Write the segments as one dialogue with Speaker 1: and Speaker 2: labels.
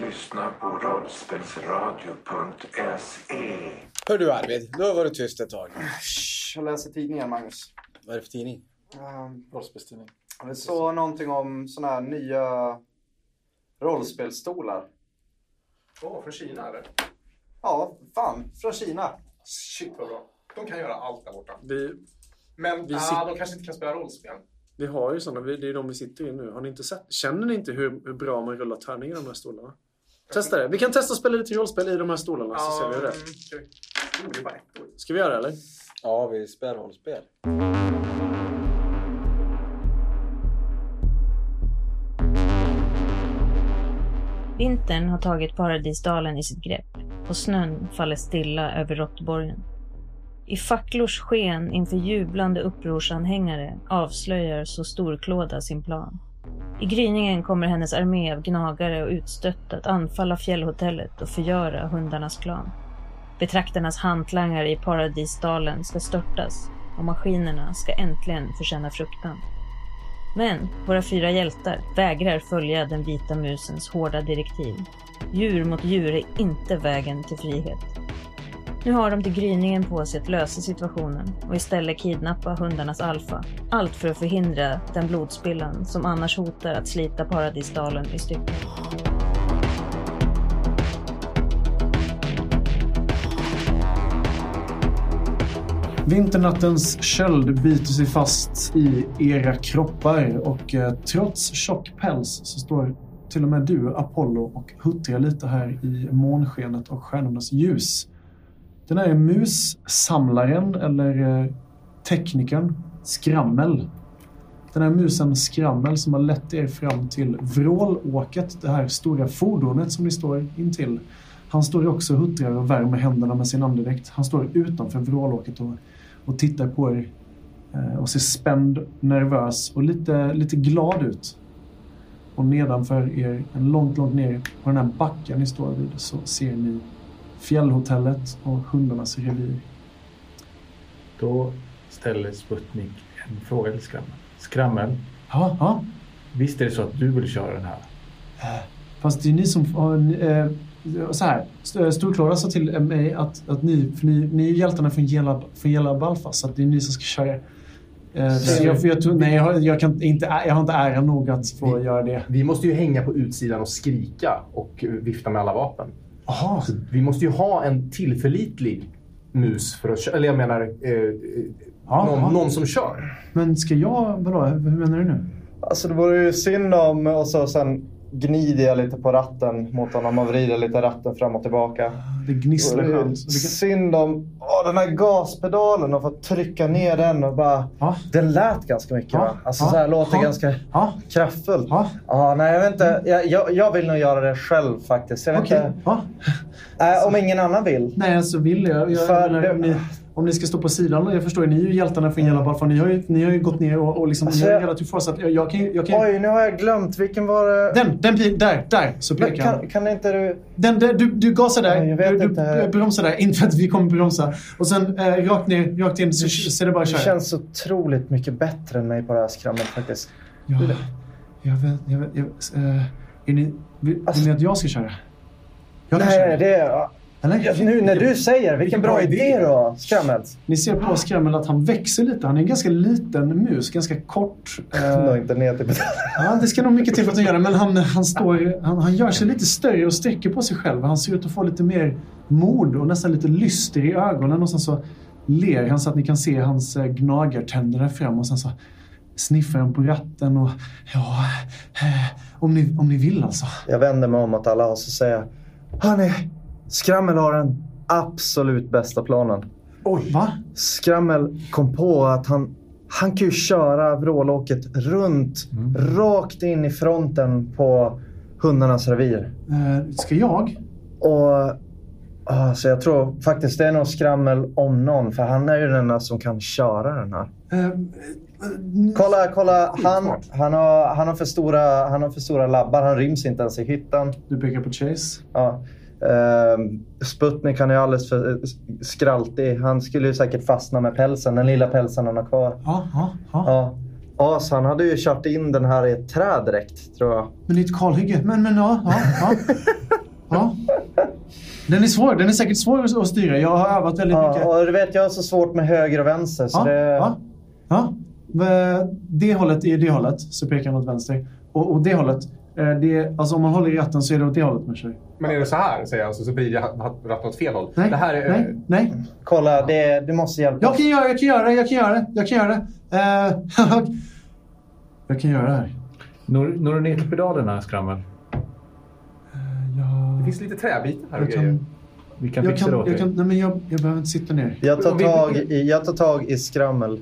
Speaker 1: lyssnar på rollspelsradio.se.
Speaker 2: Hör du Arvid, nu har jag varit tyst ett tag.
Speaker 3: Äsch, Jag läser tidningar, Magnus.
Speaker 2: Vad är det för tidning?
Speaker 3: Ehm,
Speaker 4: Rollspelstidning.
Speaker 3: Jag såg någonting om såna här nya rollspelstolar.
Speaker 4: Åh, från Kina eller?
Speaker 3: Ja, fan, från Kina.
Speaker 4: Shit vad bra. De kan göra allt där borta.
Speaker 5: Vi,
Speaker 4: Men
Speaker 5: Vi
Speaker 4: ah,
Speaker 5: sitter-
Speaker 4: de kanske inte kan spela rollspel.
Speaker 5: vi har ju sådana, vi, det är de vi sitter i nu. Har ni inte sett? Känner ni inte hur, hur bra man rullar tärningar i de här stolarna? Testa det. Vi kan testa att spela lite rollspel i de här stolarna så ser vi hur det är.
Speaker 4: det. Ah, Oh, det var ett ord.
Speaker 5: Ska vi göra det eller?
Speaker 2: Ja, vi spelar rollspel.
Speaker 6: Vintern har tagit paradisdalen i sitt grepp och snön faller stilla över Råttborgen. I facklors sken inför jublande upprorsanhängare avslöjar så storklåda sin plan. I gryningen kommer hennes armé av gnagare och utstötta att anfalla fjällhotellet och förgöra hundarnas klan. Betraktarnas hantlangare i paradisdalen ska störtas och maskinerna ska äntligen förtjäna fruktan. Men våra fyra hjältar vägrar följa den vita musens hårda direktiv. Djur mot djur är inte vägen till frihet. Nu har de till gryningen på sig att lösa situationen och istället kidnappa hundarnas alfa. Allt för att förhindra den blodspillan som annars hotar att slita paradisdalen i stycken.
Speaker 7: Vinternattens köld biter sig fast i era kroppar och eh, trots tjock päls så står till och med du, Apollo, och huttrar lite här i månskenet och stjärnornas ljus. Den här mussamlaren, eller eh, teknikern, Skrammel. Den här musen Skrammel som har lett er fram till vrålåket, det här stora fordonet som ni står intill. Han står också och huttrar och värmer händerna med sin andedräkt. Han står utanför vrålåket och och tittar på er eh, och ser spänd, nervös och lite, lite glad ut. Och nedanför er, en långt, långt ner på den här backen ni står vid så ser ni fjällhotellet och hundarnas revir.
Speaker 8: Då ställer Sputnik en fråga till Skrammel. Skrammel,
Speaker 7: Ja, ja.
Speaker 8: visst är det så att du vill köra den här?
Speaker 7: Fast det är ni som... har- ni, eh, Så här, St- eh, Storklara sa till mig att, att ni, för ni, ni är ju hjältarna från Gela, från Gela Balfas, så att det är ni som ska köra. Eh, så jag, jag, tror- nej, jag, har- jag, kan inte, jag har inte äran nog att få göra det.
Speaker 9: Vi måste ju hänga på utsidan och skrika och eh, vifta med alla vapen.
Speaker 7: Aha.
Speaker 9: Så vi måste ju ha en tillförlitlig mus för att köra. Eller jag menar, eh, eh,
Speaker 7: Ja, ja.
Speaker 9: någon, någon som kör.
Speaker 7: Men ska jag, vadå, hur menar du nu?
Speaker 3: Alltså det vore ju synd om... Och så sen gnider jag lite på ratten mot honom och vrider lite ratten fram och tillbaka.
Speaker 7: Det
Speaker 3: Och
Speaker 7: gnisslar
Speaker 3: det är
Speaker 7: skönt.
Speaker 3: synd om åh, den här gaspedalen och få trycka ner den och bara...
Speaker 7: Ja.
Speaker 3: Den lät ganska mycket
Speaker 7: Ja.
Speaker 3: va? Alltså
Speaker 7: Ja.
Speaker 3: så här låter
Speaker 7: Ja.
Speaker 3: ganska
Speaker 7: Ja,
Speaker 3: kraftfullt.
Speaker 7: ja,
Speaker 3: Ja, nej jag vet inte. Jag, jag, jag vill nog göra det själv faktiskt. Jag vet
Speaker 7: okej.
Speaker 3: inte.
Speaker 7: Ja.
Speaker 3: Nej, om ingen annan vill.
Speaker 7: Nej, alltså vill jag. jag
Speaker 3: För
Speaker 7: menar,
Speaker 3: det-
Speaker 7: om, ni, om ni ska stå på sidan, jag förstår, ni är ju hjältarna från Gällabal, för ni har ju, ni har ju gått ner och, och liksom,
Speaker 3: Alltså,
Speaker 7: ni har
Speaker 3: jag-
Speaker 7: velat ju få så att jag, jag kan ju... Jag kan, ju-
Speaker 3: Oj, nu har jag glömt. Vilken var det?
Speaker 7: den, den, pi- där, där, så
Speaker 3: Men
Speaker 7: pekar han.
Speaker 3: kan, kan inte du...
Speaker 7: Den där, du, du gasar
Speaker 3: Ja,
Speaker 7: där,
Speaker 3: jag vet
Speaker 7: du, du
Speaker 3: inte.
Speaker 7: eh, bromsar där, inte för att vi kommer bromsa. Och sen eh, rakt ner, rakt in, så, så är det bara
Speaker 3: Du
Speaker 7: att köra.
Speaker 3: känns otroligt mycket bättre än mig på det här skrammet faktiskt.
Speaker 7: Ja, jag vet, jag vet, jag vet eh, är ni, vill, vill ni att jag ska köra? Jag kan köra.
Speaker 3: Alltså- Nej, det är...
Speaker 7: Eller?
Speaker 3: Ja, Nu när du säger, vilken, bra idé då, Skrammelt.
Speaker 7: Ni ser på Skrammel att han växer lite. Han är en ganska liten mus, ganska kort.
Speaker 3: Nå,
Speaker 7: Eh,
Speaker 3: inte ner till
Speaker 7: ja, det ska nog mycket till för att han gör det, men han, han, står, han, han gör sig lite större och sträcker på sig själv. Han ser ut att få lite mer mod och nästan lite lyster i ögonen. Och sen så ler han så att ni kan se hans eh, gnagartänder där fram och sen så sniffar han på ratten och ja, eh, om ni, om ni vill alltså.
Speaker 3: Jag vänder mig om mot alla och så säger jag, Hörni, Skrammel har den absolut bästa planen.
Speaker 7: Oj. Va?
Speaker 3: Skrammel kom på att han, han kan ju köra vrålåket runt, rakt in i fronten på hundarnas revir.
Speaker 7: Eh, ska jag?
Speaker 3: Och ah, så jag tror faktiskt det är nog skrammel om någon, för han är ju den enda som kan köra den här.
Speaker 7: Eh, eh,
Speaker 3: Kolla, kolla. Han, han, har, han, har, för stora, han har för stora labbar. Han ryms inte ens i hytten.
Speaker 7: du pekar på Chase.
Speaker 3: Ja. Ehm, Sputnik han är alldeles för eh, skraltig. Han skulle ju säkert fastna med pälsen, den lilla pälsen han har kvar.
Speaker 7: Ja, ja, ja.
Speaker 3: Ja. As, han hade ju kört in den här i ett träd direkt, tror jag.
Speaker 7: Men det är ett kalhygge. Men, men ja, ja, ja. Ja. Den är svår. Den är säkert svår att- att styra. Jag har övat väldigt mycket.
Speaker 3: Ja, och du vet, jag har så svårt med höger och vänster. Så
Speaker 7: Ja,
Speaker 3: det...
Speaker 7: ja, ja. Eh, Det hållet är det hållet, så pekar han åt vänster. Och, och det hållet, eh, det, är- alltså om man håller i ratten så är det åt det hållet man kör.
Speaker 9: Men är det så här, säger jag, alltså, så, så blir det ratten åt fel håll.
Speaker 7: Nej,
Speaker 9: det här är...
Speaker 7: nej, nej.
Speaker 3: Kolla, det, du måste hjälpa
Speaker 7: Jag
Speaker 3: oss.
Speaker 7: kan göra jag kan göra det, jag kan göra det, jag kan göra det. Eh, jag kan göra det här.
Speaker 8: Når, når du ner till pedalerna, Skrammel?
Speaker 9: Eh, Det finns lite träbitar här och
Speaker 7: Jag
Speaker 9: grejer.
Speaker 7: kan,
Speaker 8: Vi kan
Speaker 7: jag
Speaker 8: fixa det
Speaker 7: kan,
Speaker 8: åt
Speaker 7: jag
Speaker 8: dig.
Speaker 7: kan, nej men jag, jag behöver inte sitta ner.
Speaker 3: Jag tar
Speaker 9: Om vi-
Speaker 3: tag i, jag tar tag i skrammel.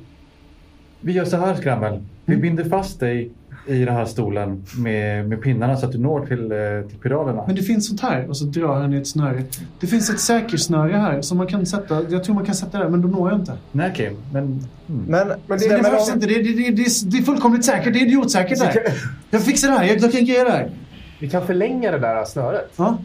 Speaker 8: Vi gör så här, Skrammel. Vi
Speaker 7: Mm.
Speaker 8: binder fast dig i den här stolen med, med pinnarna så att du når till, eh, till pedalerna.
Speaker 7: Men det finns sånt här. Och så drar han i ett snöre. Det finns ett säkersnöre här som man kan sätta. Jag tror man kan sätta det, men då når jag inte.
Speaker 8: Nej, okej. Men... Mm.
Speaker 3: Men,
Speaker 7: Men det, det, behövs inte. Det, det, det, det, är- det är fullkomligt säkert. Det är idiotsäkert där. Jag fixar det här. Jag, jag kan greja det här.
Speaker 9: Vi kan förlänga det där snöret.
Speaker 7: Ja.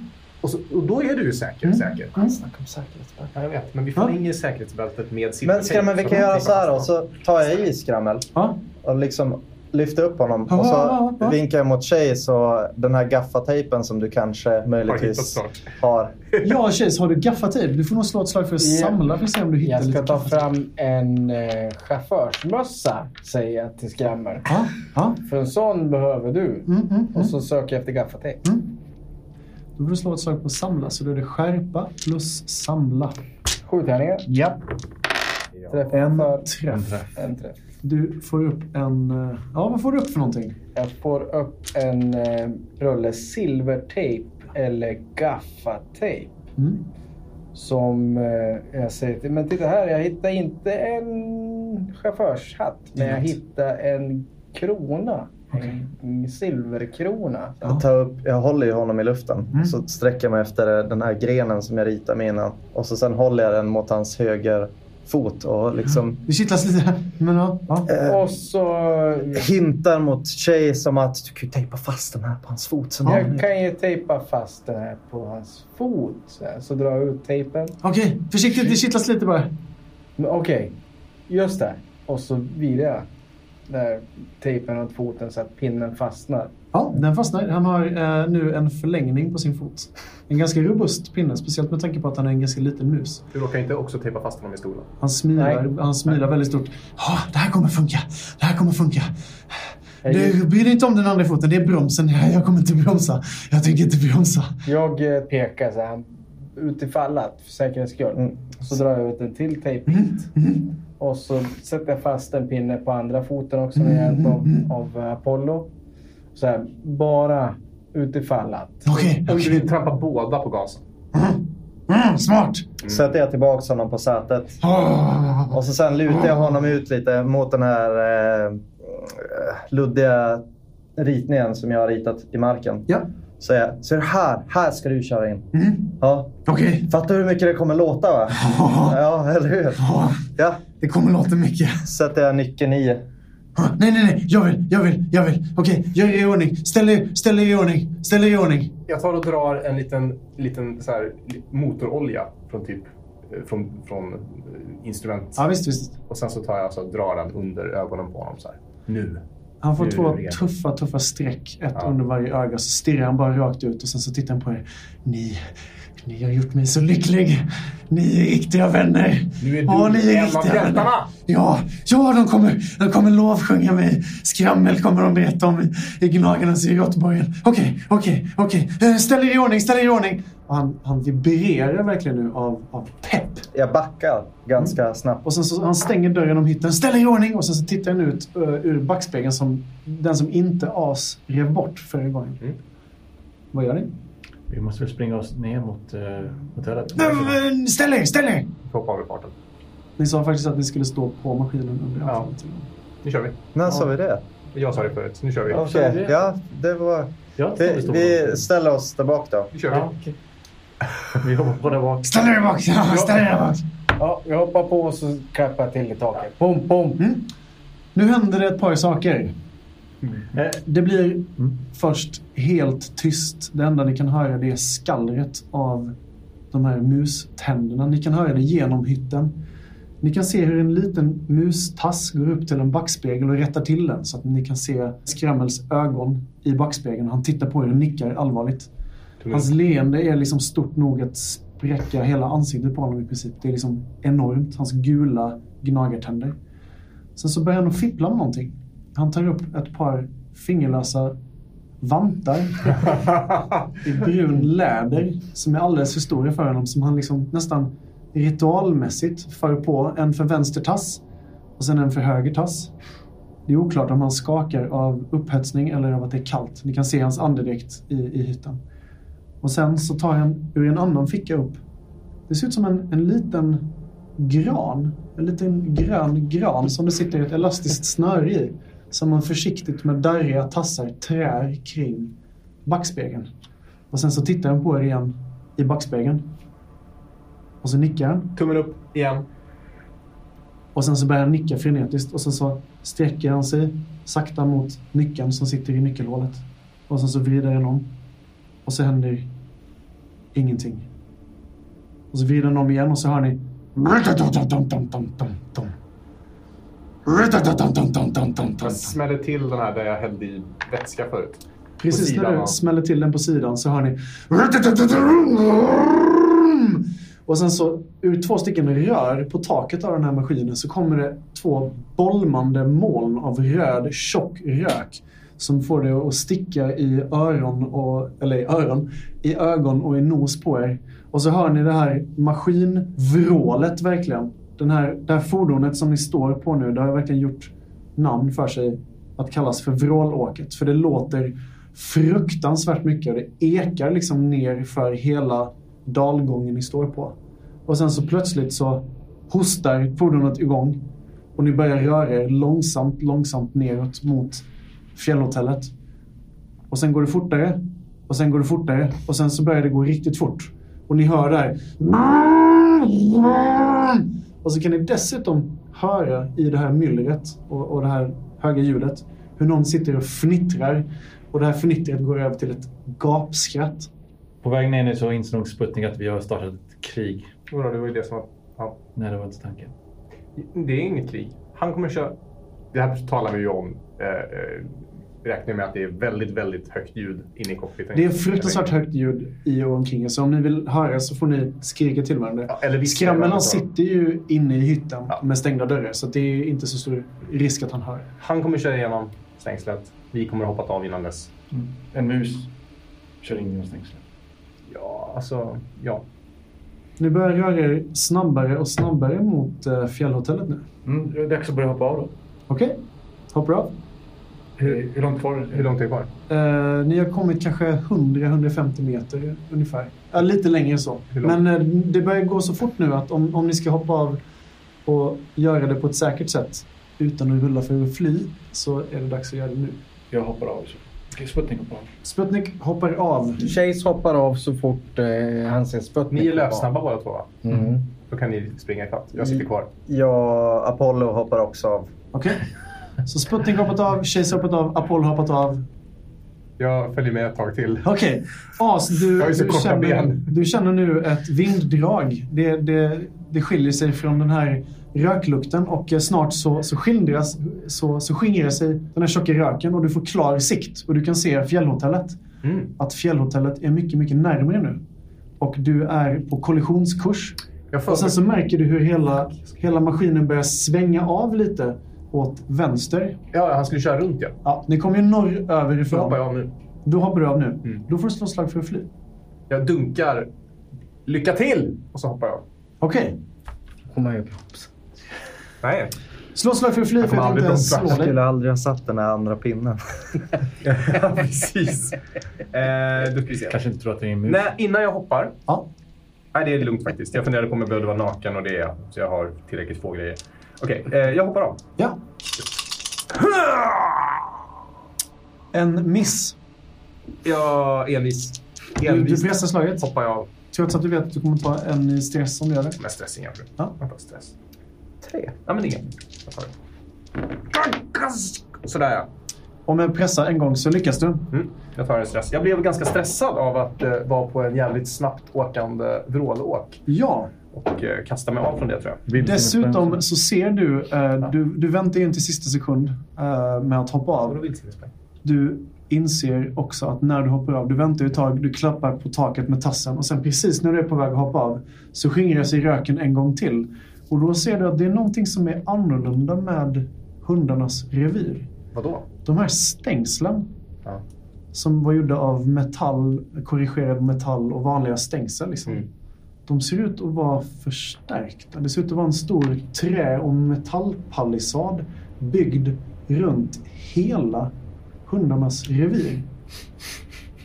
Speaker 9: Och, så, och då är du ju säker.
Speaker 7: Mm.
Speaker 9: säker.
Speaker 7: Mm.
Speaker 9: Snacka om säkerhetsbältet. Ja, jag vet. Men vi förlänger säkerhetsbältet med
Speaker 3: men skrammel, vi
Speaker 9: Så
Speaker 3: kan göra
Speaker 9: någonting
Speaker 3: så här då.
Speaker 9: fastnar.
Speaker 3: Så tar jag i skrammel
Speaker 7: Ja.
Speaker 3: och liksom lyfter upp honom.
Speaker 7: Ja,
Speaker 3: Och så
Speaker 7: ja, ja.
Speaker 3: vinkar jag mot tjej så den här gaffatejpen som du kanske
Speaker 9: Har hittat
Speaker 3: möjligtvis
Speaker 9: snart.
Speaker 3: har.
Speaker 7: ja, tjejs. Har du gaffatejp? Du får nog slå ett slag för att
Speaker 1: Ja.
Speaker 7: samla för att se om du hittar
Speaker 1: Jag ska
Speaker 7: lite
Speaker 1: ta
Speaker 7: gaffatejp.
Speaker 1: fram en eh, chaufförsmössa, säger jag till Skrammer.
Speaker 7: Ja. Ja.
Speaker 1: För en sån behöver du.
Speaker 7: Mm, mm,
Speaker 1: Och
Speaker 7: mm.
Speaker 1: så söker jag efter gaffatejp.
Speaker 7: Då får du slå ett slag på samla. Så då är det skärpa plus samla.
Speaker 1: Sju tärningar.
Speaker 7: Ja.
Speaker 1: Träff
Speaker 7: En
Speaker 1: för
Speaker 7: träff.
Speaker 1: en träff.
Speaker 7: Du får upp en... eh, Ja, vad får du upp för någonting?
Speaker 1: Jag får upp en eh, rulle silvertejp eller gaffatejp.
Speaker 7: Mm.
Speaker 1: Som eh, jag säger till, men titta här, jag hittar inte en chaufförshatt, men jag hittar en krona. En silverkrona.
Speaker 7: Ja.
Speaker 3: Jag, tar upp, jag håller ju honom i luften.
Speaker 7: Mm.
Speaker 3: Så sträcker jag mig efter den här grenen som jag ritade med innan. Och så sen håller jag den mot hans höger fot och liksom eh,
Speaker 7: Det kittlas lite. här, Men ja. ja.
Speaker 1: Och så...
Speaker 3: hintar mot tjej som att du kan ju tejpa fast den här på hans fot. Så nu-
Speaker 1: Jag kan ju tejpa fast den här på hans fot. Så, här, så drar jag ut tejpen.
Speaker 7: Okej, försiktigt. Det kittlas lite bara.
Speaker 1: Men Okej, just det. Och så virar jag där tejpen runt foten så att pinnen fastnar.
Speaker 7: Ja, den fastnar. Han har eh, nu en förlängning på sin fot. En ganska robust pinne, speciellt med tanke på att han är en ganska liten mus.
Speaker 9: Du råkar inte också tejpa fast honom i stolen?
Speaker 7: Han smilar,
Speaker 1: Nej.
Speaker 7: han smilar väldigt stort. Ja, det här kommer funka. Det här kommer funka.
Speaker 1: Jag,
Speaker 7: Du bryr dig inte om den andra foten, det är bromsen. Nej, jag kommer inte bromsa. Jag tänker inte bromsa.
Speaker 1: jag eh, pekar så här utifall att, för säkerhets skull.
Speaker 3: Mm.
Speaker 1: Så drar jag ut en till tejp hit.
Speaker 7: Mm.
Speaker 1: Och så sätter jag fast en pinne på andra foten också med hjälp av, av eh, Apollo. Så här, bara utifall att.
Speaker 7: Okej,
Speaker 9: Om du
Speaker 7: okej.
Speaker 9: vill trampa båda på gasen.
Speaker 7: Mm, smart!
Speaker 3: Sätter jag tillbaka honom på sätet.
Speaker 7: Ah.
Speaker 3: Och så sen lutar jag honom ut lite mot den här eh, luddiga ritningen som jag har ritat i marken.
Speaker 7: Ja.
Speaker 3: Så jag, så är det här, här ska du köra in.
Speaker 7: Mm,
Speaker 3: Ja.
Speaker 7: okej.
Speaker 3: Fattar du hur mycket det kommer låta va?
Speaker 7: Ah,
Speaker 3: Ja, eller hur?
Speaker 7: ah,
Speaker 3: Ja.
Speaker 7: Det kommer låta mycket.
Speaker 3: Sätter jag nyckeln i.
Speaker 7: Ah, Nej, nej, nej. Jag vill, jag vill, jag vill. Okej, gör er i ordning. Ställ er, ställ er i ordning. Ställ er i ordning.
Speaker 9: Jag tar och drar en liten, liten så här, li- motorolja från typ eh, från, från eh, instrument.
Speaker 7: Ja, visst, visst.
Speaker 9: Och sen så tar jag alltså och drar den under ögonen på honom så här. Nu.
Speaker 7: Han får
Speaker 9: Nu är
Speaker 7: två
Speaker 9: det rent.
Speaker 7: tuffa, tuffa streck. Ett
Speaker 9: Ja.
Speaker 7: under varje öga. Så stirrar han bara rakt ut och sen så tittar han på er. Ni, ni har gjort mig så lycklig. Ni är riktiga vänner.
Speaker 9: Nu är du
Speaker 7: Ja, ni är
Speaker 9: en av
Speaker 7: riktiga vänner.
Speaker 9: hjältarna.
Speaker 7: Ja, ja de, kommer, de kommer lovsjunga mig. Skrammel kommer de berätta om i- i Gnagarnas i Göteborgen. Okej, okej, okej. Eh, Ställ er i ordning, ställ er i ordning. Och han, han vibrerar verkligen nu av, av pepp.
Speaker 3: Jag backar ganska snabbt.
Speaker 7: Och sen så han stänger dörren om hytten, ställer i ordning och sen så tittar han ut eh, ur backspegeln som den som inte as rev bort förra gången.
Speaker 9: Mm.
Speaker 7: Vad gör ni?
Speaker 8: Vi måste väl springa oss ner mot eh, hotellet.
Speaker 7: Mm, Ställ er, ställ er!
Speaker 9: Hoppa av i farten.
Speaker 7: Ni sa faktiskt att ni skulle stå på maskinen under
Speaker 9: Ja.
Speaker 7: anfallet.
Speaker 9: Nu kör vi.
Speaker 3: När sa vi det?
Speaker 9: Jag sa det förut, så nu kör vi.
Speaker 3: Okej,
Speaker 8: det.
Speaker 3: ja. Det var...
Speaker 8: Ja,
Speaker 3: Vi, vi ställer oss där bak då.
Speaker 9: Nu kör vi.
Speaker 8: Ja, okej. Vi hoppar på där bak.
Speaker 7: Ställ er bak! Ja, ställ er bak!
Speaker 1: Ja, jag hoppar på och så klappar jag till i taket. Pom, pom.
Speaker 7: Mm. Nu händer det ett par saker.
Speaker 3: Mm.
Speaker 8: Eh,
Speaker 7: Det blir först helt tyst. Det enda ni kan höra det är skallret av de här muständerna. Ni kan höra det genom hytten. Ni kan se hur en liten mustass går upp till en backspegel och rättar till den så att ni kan se Skrammels ögon i backspegeln. Han tittar på er och nickar allvarligt. Hans leende är liksom stort nog att spräcka hela ansiktet på honom i princip. Det är liksom enormt. Hans gula gnagartänder. Sen så börjar han att fippla med någonting. Han tar upp ett par fingerlösa vantar i brun läder som är alldeles för stora för honom. Som han liksom nästan ritualmässigt för på en för vänster tass och sen en för höger tass. Det är oklart om han skakar av upphetsning eller av att det är kallt. Ni kan se hans andedräkt i, i hytten. Och sen så tar han ur en annan ficka upp. Det ser ut som en, en liten gran. En liten grön gran som det sitter ett elastiskt snöre i. Som man försiktigt med darriga tassar trär kring backspegeln. Och sen så tittar han på er igen i backspegeln. Och så nickar han.
Speaker 9: Tummen upp igen.
Speaker 7: Och sen så börjar han nicka frenetiskt och sen så sträcker han sig sakta mot nyckeln som sitter i nyckelhålet. Och sen så vrider han om. Och så händer ingenting. Och så vrider han om igen och så hör ni...
Speaker 9: Jag smäller till den här där jag hällde i vätska förut.
Speaker 7: Precis
Speaker 9: sidan
Speaker 7: när
Speaker 9: av.
Speaker 7: du smäller till den på sidan så hör ni... Och sen så ur två stycken rör på taket av den här maskinen så kommer det två bolmande moln av röd tjock rök som får det att sticka i öron och, eller i öron, i ögon och i nos på er. Och så hör ni det här maskinvrålet verkligen. Den här, det här fordonet som ni står på nu, det har verkligen gjort namn för sig att kallas för vrålåket. För det låter fruktansvärt mycket och det ekar liksom ner för hela dalgången ni står på. Och sen så plötsligt så hostar fordonet igång och ni börjar röra er långsamt, långsamt neråt mot fjällhotellet. Och sen går det fortare och sen går det fortare och sen så börjar det gå riktigt fort. Och ni hör där. Och så kan ni dessutom höra i det här myllret och, och det här höga ljudet hur någon sitter och fnittrar. Och det här fnittret går över till ett gapskratt.
Speaker 8: På vägen ner nu så inser nog Sputnik att vi har startat ett krig.
Speaker 9: Undrar, det var ju det som var... Ja.
Speaker 8: Nej, det var inte tanken.
Speaker 9: Det är inget krig. Han kommer köra... Det här talar vi ju om. Eh, eh, räknar med att det är väldigt, väldigt högt ljud inne i cockpiten.
Speaker 7: Det är fruktansvärt högt ljud i och omkring er, så om ni vill höra så får ni skrika till varandra.
Speaker 9: Ja, eller viskar
Speaker 7: Skramlarna
Speaker 9: ibland.
Speaker 7: sitter ju inne i hytten
Speaker 9: Ja.
Speaker 7: med stängda dörrar, så det är inte så stor risk att han hör.
Speaker 9: Han kommer köra igenom stängslet. Vi kommer ha hoppat av innan dess.
Speaker 8: En mus kör in genom stängslet.
Speaker 9: Ja, alltså... Ja.
Speaker 7: Ni börjar röra er snabbare och snabbare mot eh, fjällhotellet nu.
Speaker 8: Mm, det är dags att börja hoppa av då.
Speaker 7: Okej, hoppar av.
Speaker 8: Hur, hur långt kvar?
Speaker 9: Hur långt är det kvar?
Speaker 7: Eh, ni har kommit kanske 100-150 meter ungefär. Ja, lite längre så.
Speaker 9: Hur långt?
Speaker 7: Men eh, det börjar gå så fort nu att om, om ni ska hoppa av och göra det på ett säkert sätt utan att rulla för att fly så är det dags att göra det nu.
Speaker 8: Jag hoppar av. så. Okej, Sputnik hoppar av.
Speaker 7: Sputnik hoppar av.
Speaker 1: Chase hoppar av så fort eh, han ser Sputnik.
Speaker 9: Ni är
Speaker 1: hoppa av.
Speaker 9: löpsnabba båda två, va?
Speaker 1: Mm.
Speaker 9: Då kan ni springa ikapp. Jag
Speaker 7: Mm.
Speaker 9: sitter kvar.
Speaker 3: Ja, Apollo hoppar också av.
Speaker 7: Okej. Så Sputnik hoppat av, Chase hoppat av, Apollo hoppat av.
Speaker 9: Jag följer med ett tag till.
Speaker 7: Okej. As, du,
Speaker 9: Jag har ju så
Speaker 7: du,
Speaker 9: korta
Speaker 7: känner,
Speaker 9: ben.
Speaker 7: du känner nu ett vinddrag. Det, det, det skiljer sig från den här röklukten och eh, snart så, så, skildras, så, så skingrar sig den här tjocka röken och du får klar sikt och du kan se fjällhotellet.
Speaker 9: Mm.
Speaker 7: Att fjällhotellet är mycket, mycket närmare nu. Och du är på kollisionskurs.
Speaker 9: Jag får...
Speaker 7: Och sen så märker du hur hela, hela maskinen börjar svänga av lite åt vänster.
Speaker 9: Ja, han skulle köra runt, ja.
Speaker 7: Ja, ni kommer ju norröver
Speaker 9: Då hoppar
Speaker 7: ifrån.
Speaker 9: jag av nu.
Speaker 7: Då hoppar du av nu.
Speaker 9: Mm.
Speaker 7: Då får du slå slag för att fly.
Speaker 9: Jag dunkar. Lycka till! Och så hoppar jag.
Speaker 7: Okej.
Speaker 1: Kommer jag upp.
Speaker 9: Nej.
Speaker 7: Slå slag för att fly, för
Speaker 9: kommer
Speaker 7: jag tänkte
Speaker 9: aldrig
Speaker 7: slå
Speaker 9: blomma.
Speaker 3: Jag
Speaker 7: dig.
Speaker 3: skulle aldrig ha satt den här andra pinnen.
Speaker 9: Precis. Eh, då ska vi se.
Speaker 8: Kanske inte tror att det är en mus.
Speaker 9: Nej, innan jag hoppar.
Speaker 7: Ja.
Speaker 9: Nej, det är lugnt faktiskt. Jag funderade på om jag behövde vara naken och det är jag. Så jag har tillräckligt få grejer. Okej, eh, jag hoppar av.
Speaker 7: Ja. En miss.
Speaker 9: Jag envis.
Speaker 7: Du, du
Speaker 9: Envis.
Speaker 7: pressar slaget.
Speaker 9: hoppar jag av.
Speaker 7: Trots att du vet att du kommer ta en i stress om du gör det.
Speaker 9: Med stress inga problem.
Speaker 7: Ja.
Speaker 9: Jag tar stress. Tre. Nej, men ingen. Jag tar det. Sådär ja.
Speaker 7: Om jag pressar en gång så lyckas du.
Speaker 9: Mm. Jag tar en stress. Jag blev ganska stressad av att eh, vara på en jävligt snabbt åkande vrålåk.
Speaker 7: Ja.
Speaker 9: Och eh, kasta mig av från det tror jag.
Speaker 8: Vilken
Speaker 7: Dessutom
Speaker 8: expansion.
Speaker 7: så ser du, eh, du, du väntar in till sista sekund eh, med att hoppa
Speaker 9: Vadå
Speaker 7: av.
Speaker 9: vildsvinsspray?
Speaker 7: Du inser också att när du hoppar av, du väntar ett tag, du klappar på taket med tassen och sen precis när du är på väg att hoppa av så skingrar sig röken en gång till. Och då ser du att det är någonting som är annorlunda med hundarnas revir.
Speaker 9: Vadå?
Speaker 7: De här stängslen
Speaker 9: Ja.
Speaker 7: som var gjorda av metall, korrigerad metall och vanliga stängsel. Liksom.
Speaker 9: Mm.
Speaker 7: De ser ut att vara förstärkta. Det ser ut att vara en stor trä och metallpalissad byggd runt hela hundarnas revir.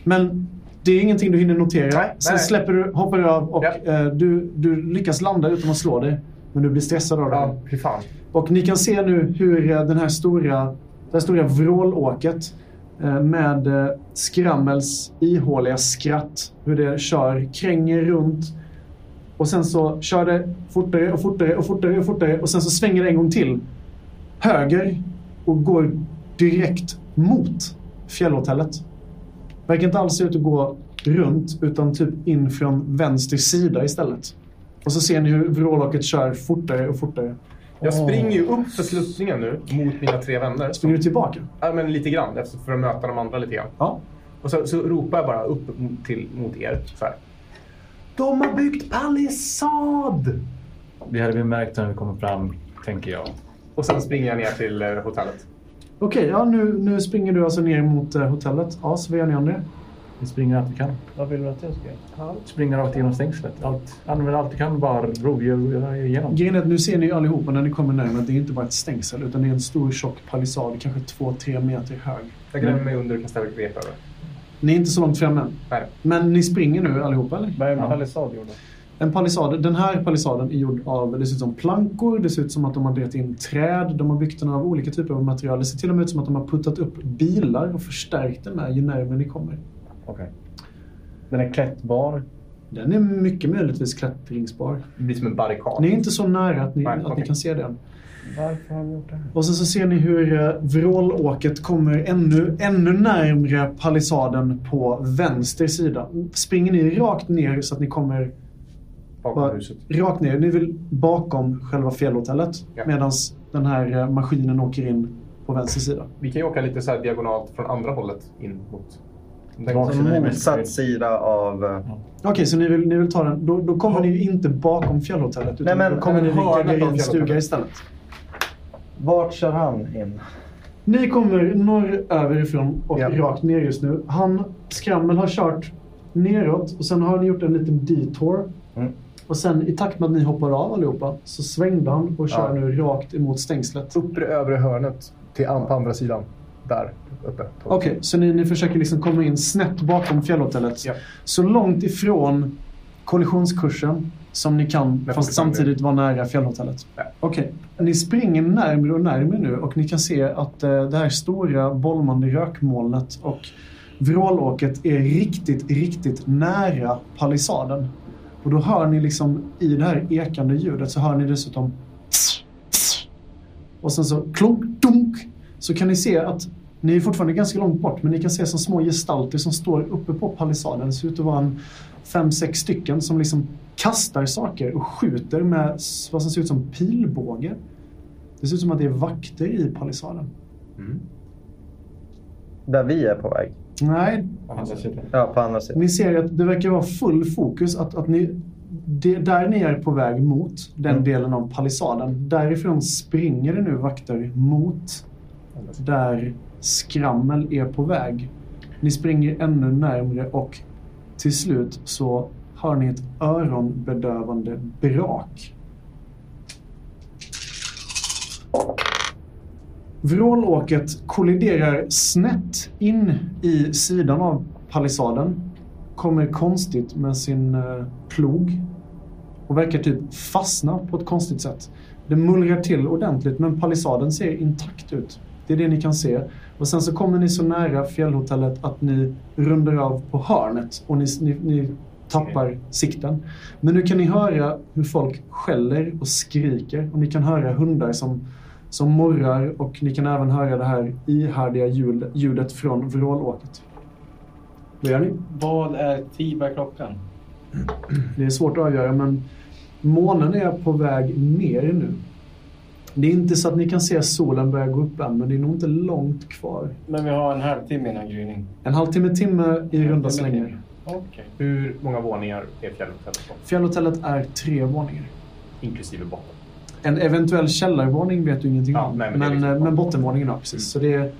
Speaker 7: Men det är ingenting du hinner notera.
Speaker 9: Nej,
Speaker 7: Sen
Speaker 9: nej.
Speaker 7: släpper du, hoppar du av och
Speaker 9: Japp.
Speaker 7: eh, du, du lyckas landa utan att slå dig. Men du blir stressad av det.
Speaker 9: Ja, fy fan.
Speaker 7: Och ni kan se nu hur eh, den här stora, det här stora vrålåket eh, med eh, Skrammels ihåliga skratt, hur det kör, kränger runt. Och sen så kör det fortare och fortare och fortare och fortare och sen så svänger det en gång till höger och går direkt mot fjällhotellet. Verkar inte alls se ut att gå runt utan typ in från vänster sida istället. Och så ser ni hur vrålåket kör fortare och fortare.
Speaker 9: Jag springer ju upp för sluttningen nu mot mina tre vänner.
Speaker 7: Springer du tillbaka?
Speaker 9: Ja, men lite grann efter- för att möta de andra lite grann.
Speaker 7: Ja.
Speaker 9: Och så, så ropar jag bara upp mot- till, mot er. Så här.
Speaker 7: De har byggt palissad!
Speaker 8: Det hade vi märkt när vi kommer fram, tänker jag.
Speaker 9: Och sen springer jag ner till eh, hotellet.
Speaker 7: Okej, ja, nu, nu springer du alltså ner mot eh, hotellet. Ja, så vad gör ni om det?
Speaker 8: Vi springer allt vi kan.
Speaker 1: Vad vill du att jag ska göra?
Speaker 8: Springer rakt igenom stängslet. Allt, använder allt du kan, bara rovdjur igenom.
Speaker 7: Grejen är att nu ser ni ju allihopa när ni kommer närmare att det är inte bara ett stängsel utan det är en stor tjock palissad, kanske två, tre meter hög.
Speaker 9: Jag gräver mig under och kastar ett rep över.
Speaker 7: Ni är inte så långt framme än.
Speaker 9: Nej.
Speaker 7: Men ni springer nu allihopa eller?
Speaker 1: Vad är en palissad gjord av?
Speaker 7: En palissad, den här palissaden är gjord av, det ser ut som plankor, det ser ut som att de har dragit in träd, de har byggt den av olika typer av material. Det ser till och med ut som att de har puttat upp bilar och förstärkt den med ju närmare ni kommer.
Speaker 1: Okej. Den är klättbar.
Speaker 7: Den är mycket möjligtvis klättringsbar.
Speaker 9: Det blir som en barrikad.
Speaker 7: Ni är inte så nära att ni,
Speaker 9: Nej,
Speaker 7: att
Speaker 9: okej.
Speaker 7: ni kan se den.
Speaker 1: Varför har de gjort det här?
Speaker 7: Och sen så ser ni hur eh, vrålåket kommer ännu, ännu närmre palissaden på vänster sida. Springer ni rakt ner så att ni kommer
Speaker 9: bakom
Speaker 7: bara,
Speaker 9: huset.
Speaker 7: rakt ner. Ni vill bakom själva fjällhotellet
Speaker 9: Ja.
Speaker 7: medan den här eh, maskinen åker in på vänster sida.
Speaker 9: Vi kan ju åka lite så här diagonalt från andra hållet in mot... om det-
Speaker 8: Var-
Speaker 3: Så motsatt sida av... eh,
Speaker 7: Okej, så ni vill, ni vill ta den. Då, då kommer ni ju inte bakom fjällhotellet utan
Speaker 3: Nej, men-
Speaker 7: då kommer ni
Speaker 9: men hörnet av
Speaker 7: vid Gregerins stuga
Speaker 9: fjällhotellet.
Speaker 7: istället.
Speaker 3: Vart kör han in?
Speaker 7: Ni kommer norröver ifrån och
Speaker 3: Ja.
Speaker 7: rakt ner just nu. Han, Skrammel har kört neråt och sen har han gjort en liten detour.
Speaker 3: Mm.
Speaker 7: Och sen i takt med att ni hoppar av allihopa så svängde han och kör
Speaker 9: Ja.
Speaker 7: nu rakt emot stängslet.
Speaker 9: Uppre övre hörnet till, på andra sidan. Där uppe.
Speaker 7: Okej, så ni, ni försöker liksom komma in snett bakom fjällhotellet.
Speaker 9: Ja.
Speaker 7: Så långt ifrån kollisionskursen som ni kan, fast
Speaker 9: fortfarande-
Speaker 7: samtidigt vara nära fjällhotellet.
Speaker 9: Ja.
Speaker 7: Okej, ni springer närmre och närmre nu och ni kan se att eh, det här stora bolmande rökmolnet och vrålåket är riktigt, riktigt nära palissaden. Och då hör ni liksom i det här ekande ljudet så hör ni dessutom tss, tss. och sen så klonk, dunk. Så kan ni se att ni är fortfarande ganska långt bort men ni kan se som små gestalter som står uppe på palissaden. Det ser ut att vara en fem, sex stycken som liksom kastar saker och skjuter med s- vad som ser ut som pilbåge. Det ser ut som att det är vakter i palissaden.
Speaker 3: Där vi är på väg.
Speaker 7: Nej,
Speaker 8: Andra sidan.
Speaker 3: Ja, på andra sidan.
Speaker 7: Ni ser att det verkar vara full fokus. Att, att ni, det, där ni är på väg mot, den
Speaker 3: Mm.
Speaker 7: delen av palissaden. Därifrån springer det nu vakter mot där skrammel är på väg. Ni springer ännu närmre och till slut så hör ni ett öronbedövande brak. Vrålåket kolliderar snett in i sidan av palissaden. Kommer konstigt med sin eh, plog. Och verkar typ fastna på ett konstigt sätt. Det mullrar till ordentligt men palissaden ser intakt ut. Det är det ni kan se. Och sen så kommer ni så nära fjällhotellet att ni rundar av på hörnet och ni, ni, ni tappar sikten. Men nu kan ni höra hur folk skäller och skriker och ni kan höra hundar som som morrar och ni kan även höra det här ihärdiga ljud, ljudet från vrålåket. Vad gör ni?
Speaker 1: Vad är Tiba klockan?
Speaker 7: Det är svårt att avgöra men månen är på väg ner nu. Det är inte så att ni kan se solen börja gå upp än, men det är nog inte långt kvar.
Speaker 1: Men vi har en halvtimme innan gryning.
Speaker 7: En halvtimme, timme i runda slängar.
Speaker 1: Okej.
Speaker 9: Hur många våningar är fjällhotellet på?
Speaker 7: Fjällhotellet är tre våningar.
Speaker 9: Inklusive botten.
Speaker 7: En eventuell källarvåning vet du ingenting
Speaker 9: Ja,
Speaker 7: om.
Speaker 9: nej,
Speaker 7: men,
Speaker 9: men det är liksom-
Speaker 7: eh, men bottenvåningen, ja precis. Så det är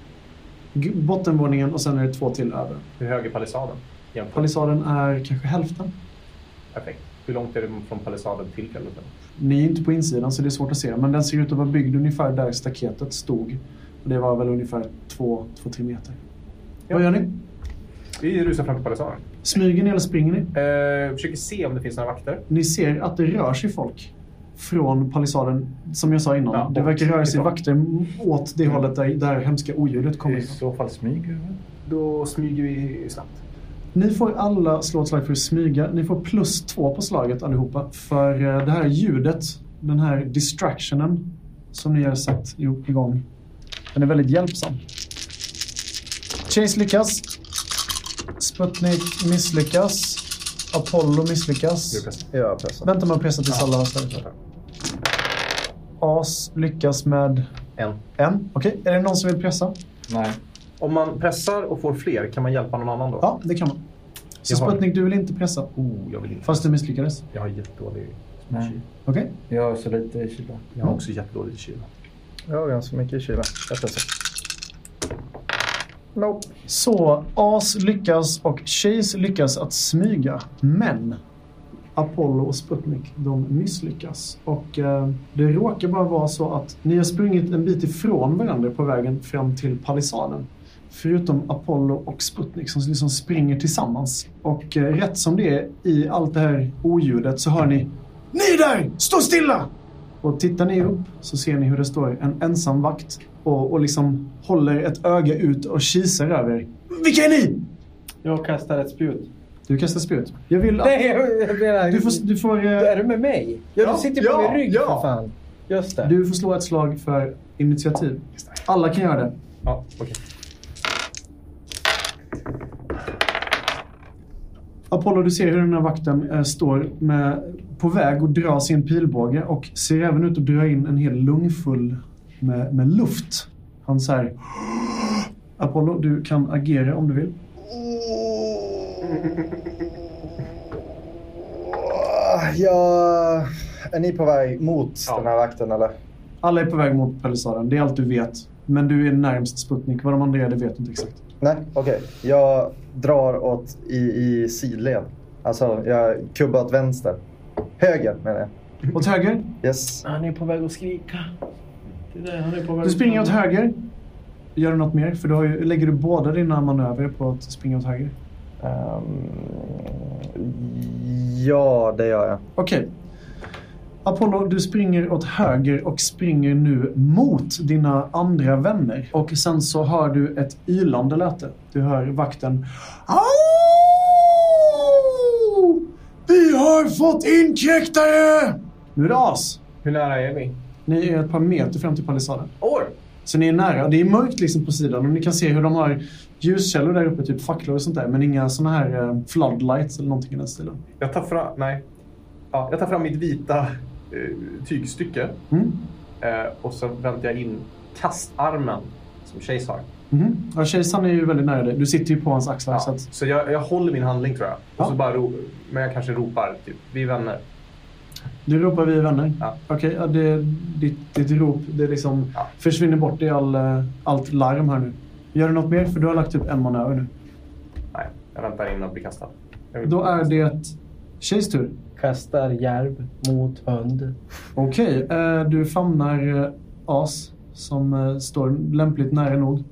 Speaker 7: g- bottenvåningen och sen är det två till över.
Speaker 9: Hur hög är palissaden? Jämfört.
Speaker 7: Palissaden är kanske hälften.
Speaker 9: Perfekt. Hur långt är det från palissaden till fjällhotellet?
Speaker 7: Ni är inte på insidan så det är svårt att se. Men den ser ut att vara byggd ungefär där staketet stod. Och det var väl ungefär två, två, tre meter. Vad gör ni?
Speaker 9: Vi rusar fram till palissaden.
Speaker 7: Smyger ni eller springer ni?
Speaker 9: Eh, försöker se om det finns några vakter.
Speaker 7: Ni ser att det rör sig folk från palissaden, som jag sa innan.
Speaker 9: Ja,
Speaker 7: det
Speaker 9: och
Speaker 7: verkar röra sig
Speaker 9: ifrån.
Speaker 7: vakter åt det hållet där det här hemska oljudet kommer
Speaker 8: I
Speaker 7: ifrån.
Speaker 8: så fall smyger vi.
Speaker 9: Då smyger vi snabbt.
Speaker 7: Ni får alla slå ett slag för att smyga. Ni får plus två på slaget allihopa. För eh, det här ljudet, den här distractionen som ni har satt i- igång, den är väldigt hjälpsam. Chase lyckas. Sputnik misslyckas. Apollo misslyckas.
Speaker 9: Nu pressar
Speaker 3: Jag pressar.
Speaker 7: Vänta med att pressa tills alla har slagit. As lyckas med
Speaker 9: En.
Speaker 7: en. Okej, är det någon som vill pressa?
Speaker 8: Nej.
Speaker 9: Om man pressar och får fler, kan man hjälpa någon annan då?
Speaker 7: Ja, det kan man. Så
Speaker 9: Jag har-
Speaker 7: Sputnik, du vill inte pressa?
Speaker 9: Oh, jag vill inte.
Speaker 7: Fast du misslyckades?
Speaker 9: Jag har jättedålig
Speaker 8: Nej.
Speaker 7: Okej.
Speaker 8: Jag har så lite i kyla.
Speaker 9: Jag har också jättedålig kyla.
Speaker 3: Jag har ganska mycket i kyla. Jag pressar. Nope.
Speaker 7: Så As lyckas och Chase lyckas att smyga. Men Apollo och Sputnik de misslyckas. Och eh, det råkar bara vara så att ni har sprungit en bit ifrån varandra på vägen fram till palissaden. Förutom Apollo och Sputnik som liksom springer tillsammans. Och eh, rätt som det är i allt det här oljudet så hör ni Ni där! Stå stilla! Och tittar ni upp så ser ni hur det står en ensam vakt och, och liksom håller ett öga ut och kisar över er. Vilka är ni?
Speaker 1: Jag kastar ett spjut.
Speaker 7: Du kastar spjut. Jag vill att...
Speaker 1: Nej, jag jag menar...
Speaker 7: Du får, du, får, eh,
Speaker 1: Är du med mig? Ja,
Speaker 7: Ja,
Speaker 1: du sitter på
Speaker 7: ja,
Speaker 1: min rygg
Speaker 7: ja.
Speaker 1: för fan. Just det.
Speaker 7: du får slå ett slag för initiativ. Alla kan göra det.
Speaker 9: Ja, okej.
Speaker 7: Apollo, du ser hur den här vakten eh, står med, på väg att dra sin pilbåge och ser även ut att dra in en hel lungfull med, med luft. Han säger... Apollo, du kan agera om du vill.
Speaker 3: Jag... Är ni på väg mot
Speaker 9: Ja.
Speaker 3: den här vakten eller?
Speaker 7: Alla är på väg mot palissaden, det är allt du vet. Men du är närmst Sputnik. Vad de andra är, det vet du inte exakt.
Speaker 3: Nej, okej. Jag drar åt i, i sidled. Alltså, jag kubbar åt vänster. Höger menar jag.
Speaker 7: Åt höger?
Speaker 3: Yes.
Speaker 1: Han är på väg att skrika. Det där, han är på väg
Speaker 7: Du springer åt
Speaker 1: här.
Speaker 7: höger. Gör du något mer? För då har ju, lägger du båda dina manövrer på att springa åt höger.
Speaker 3: Ehm, ja, det gör jag.
Speaker 7: Okej. Apollo, du springer åt höger och springer nu mot dina andra vänner. Och sen så hör du ett ylande läte. Du hör vakten. Au! Vi har fått inkräktare! Nu är det as.
Speaker 9: Hur nära är vi?
Speaker 7: Ni är ett par meter fram till palissaden.
Speaker 9: År!
Speaker 7: Så ni är nära. Det är mörkt liksom på sidan och ni kan se hur de har ljuskällor där uppe, typ facklor och sånt där. Men inga såna här eh, floodlights eller någonting i den stilen.
Speaker 9: Jag tar fram... Nej. Ja, jag tar fram mitt vita eh, tygstycke
Speaker 7: Mm.
Speaker 9: eh, och så väntar jag in kastarmen som Chase har.
Speaker 7: Mhm. Ja, Kejsaren är ju väldigt nära dig. Du sitter ju på hans axlar.
Speaker 9: Ja,
Speaker 7: Så att,
Speaker 9: så jag, jag håller min handling tror jag. Och
Speaker 7: Ja.
Speaker 9: så bara ro, men jag kanske ropar typ, vi är vänner.
Speaker 7: du ropar vi är vänner.
Speaker 9: Ja.
Speaker 7: Okej, ja, det, ditt, ditt rop det liksom
Speaker 9: Ja.
Speaker 7: försvinner bort i all, eh, allt larm här nu. Gör du något mer? För du har lagt typ en man över nu.
Speaker 9: Nej, jag väntar in att bli kastad. Jag vill-
Speaker 7: Då är det Tjejs tur.
Speaker 1: Kastar järv mot hund.
Speaker 7: Okej, eh, du famnar eh, As som eh, står lämpligt nära nog.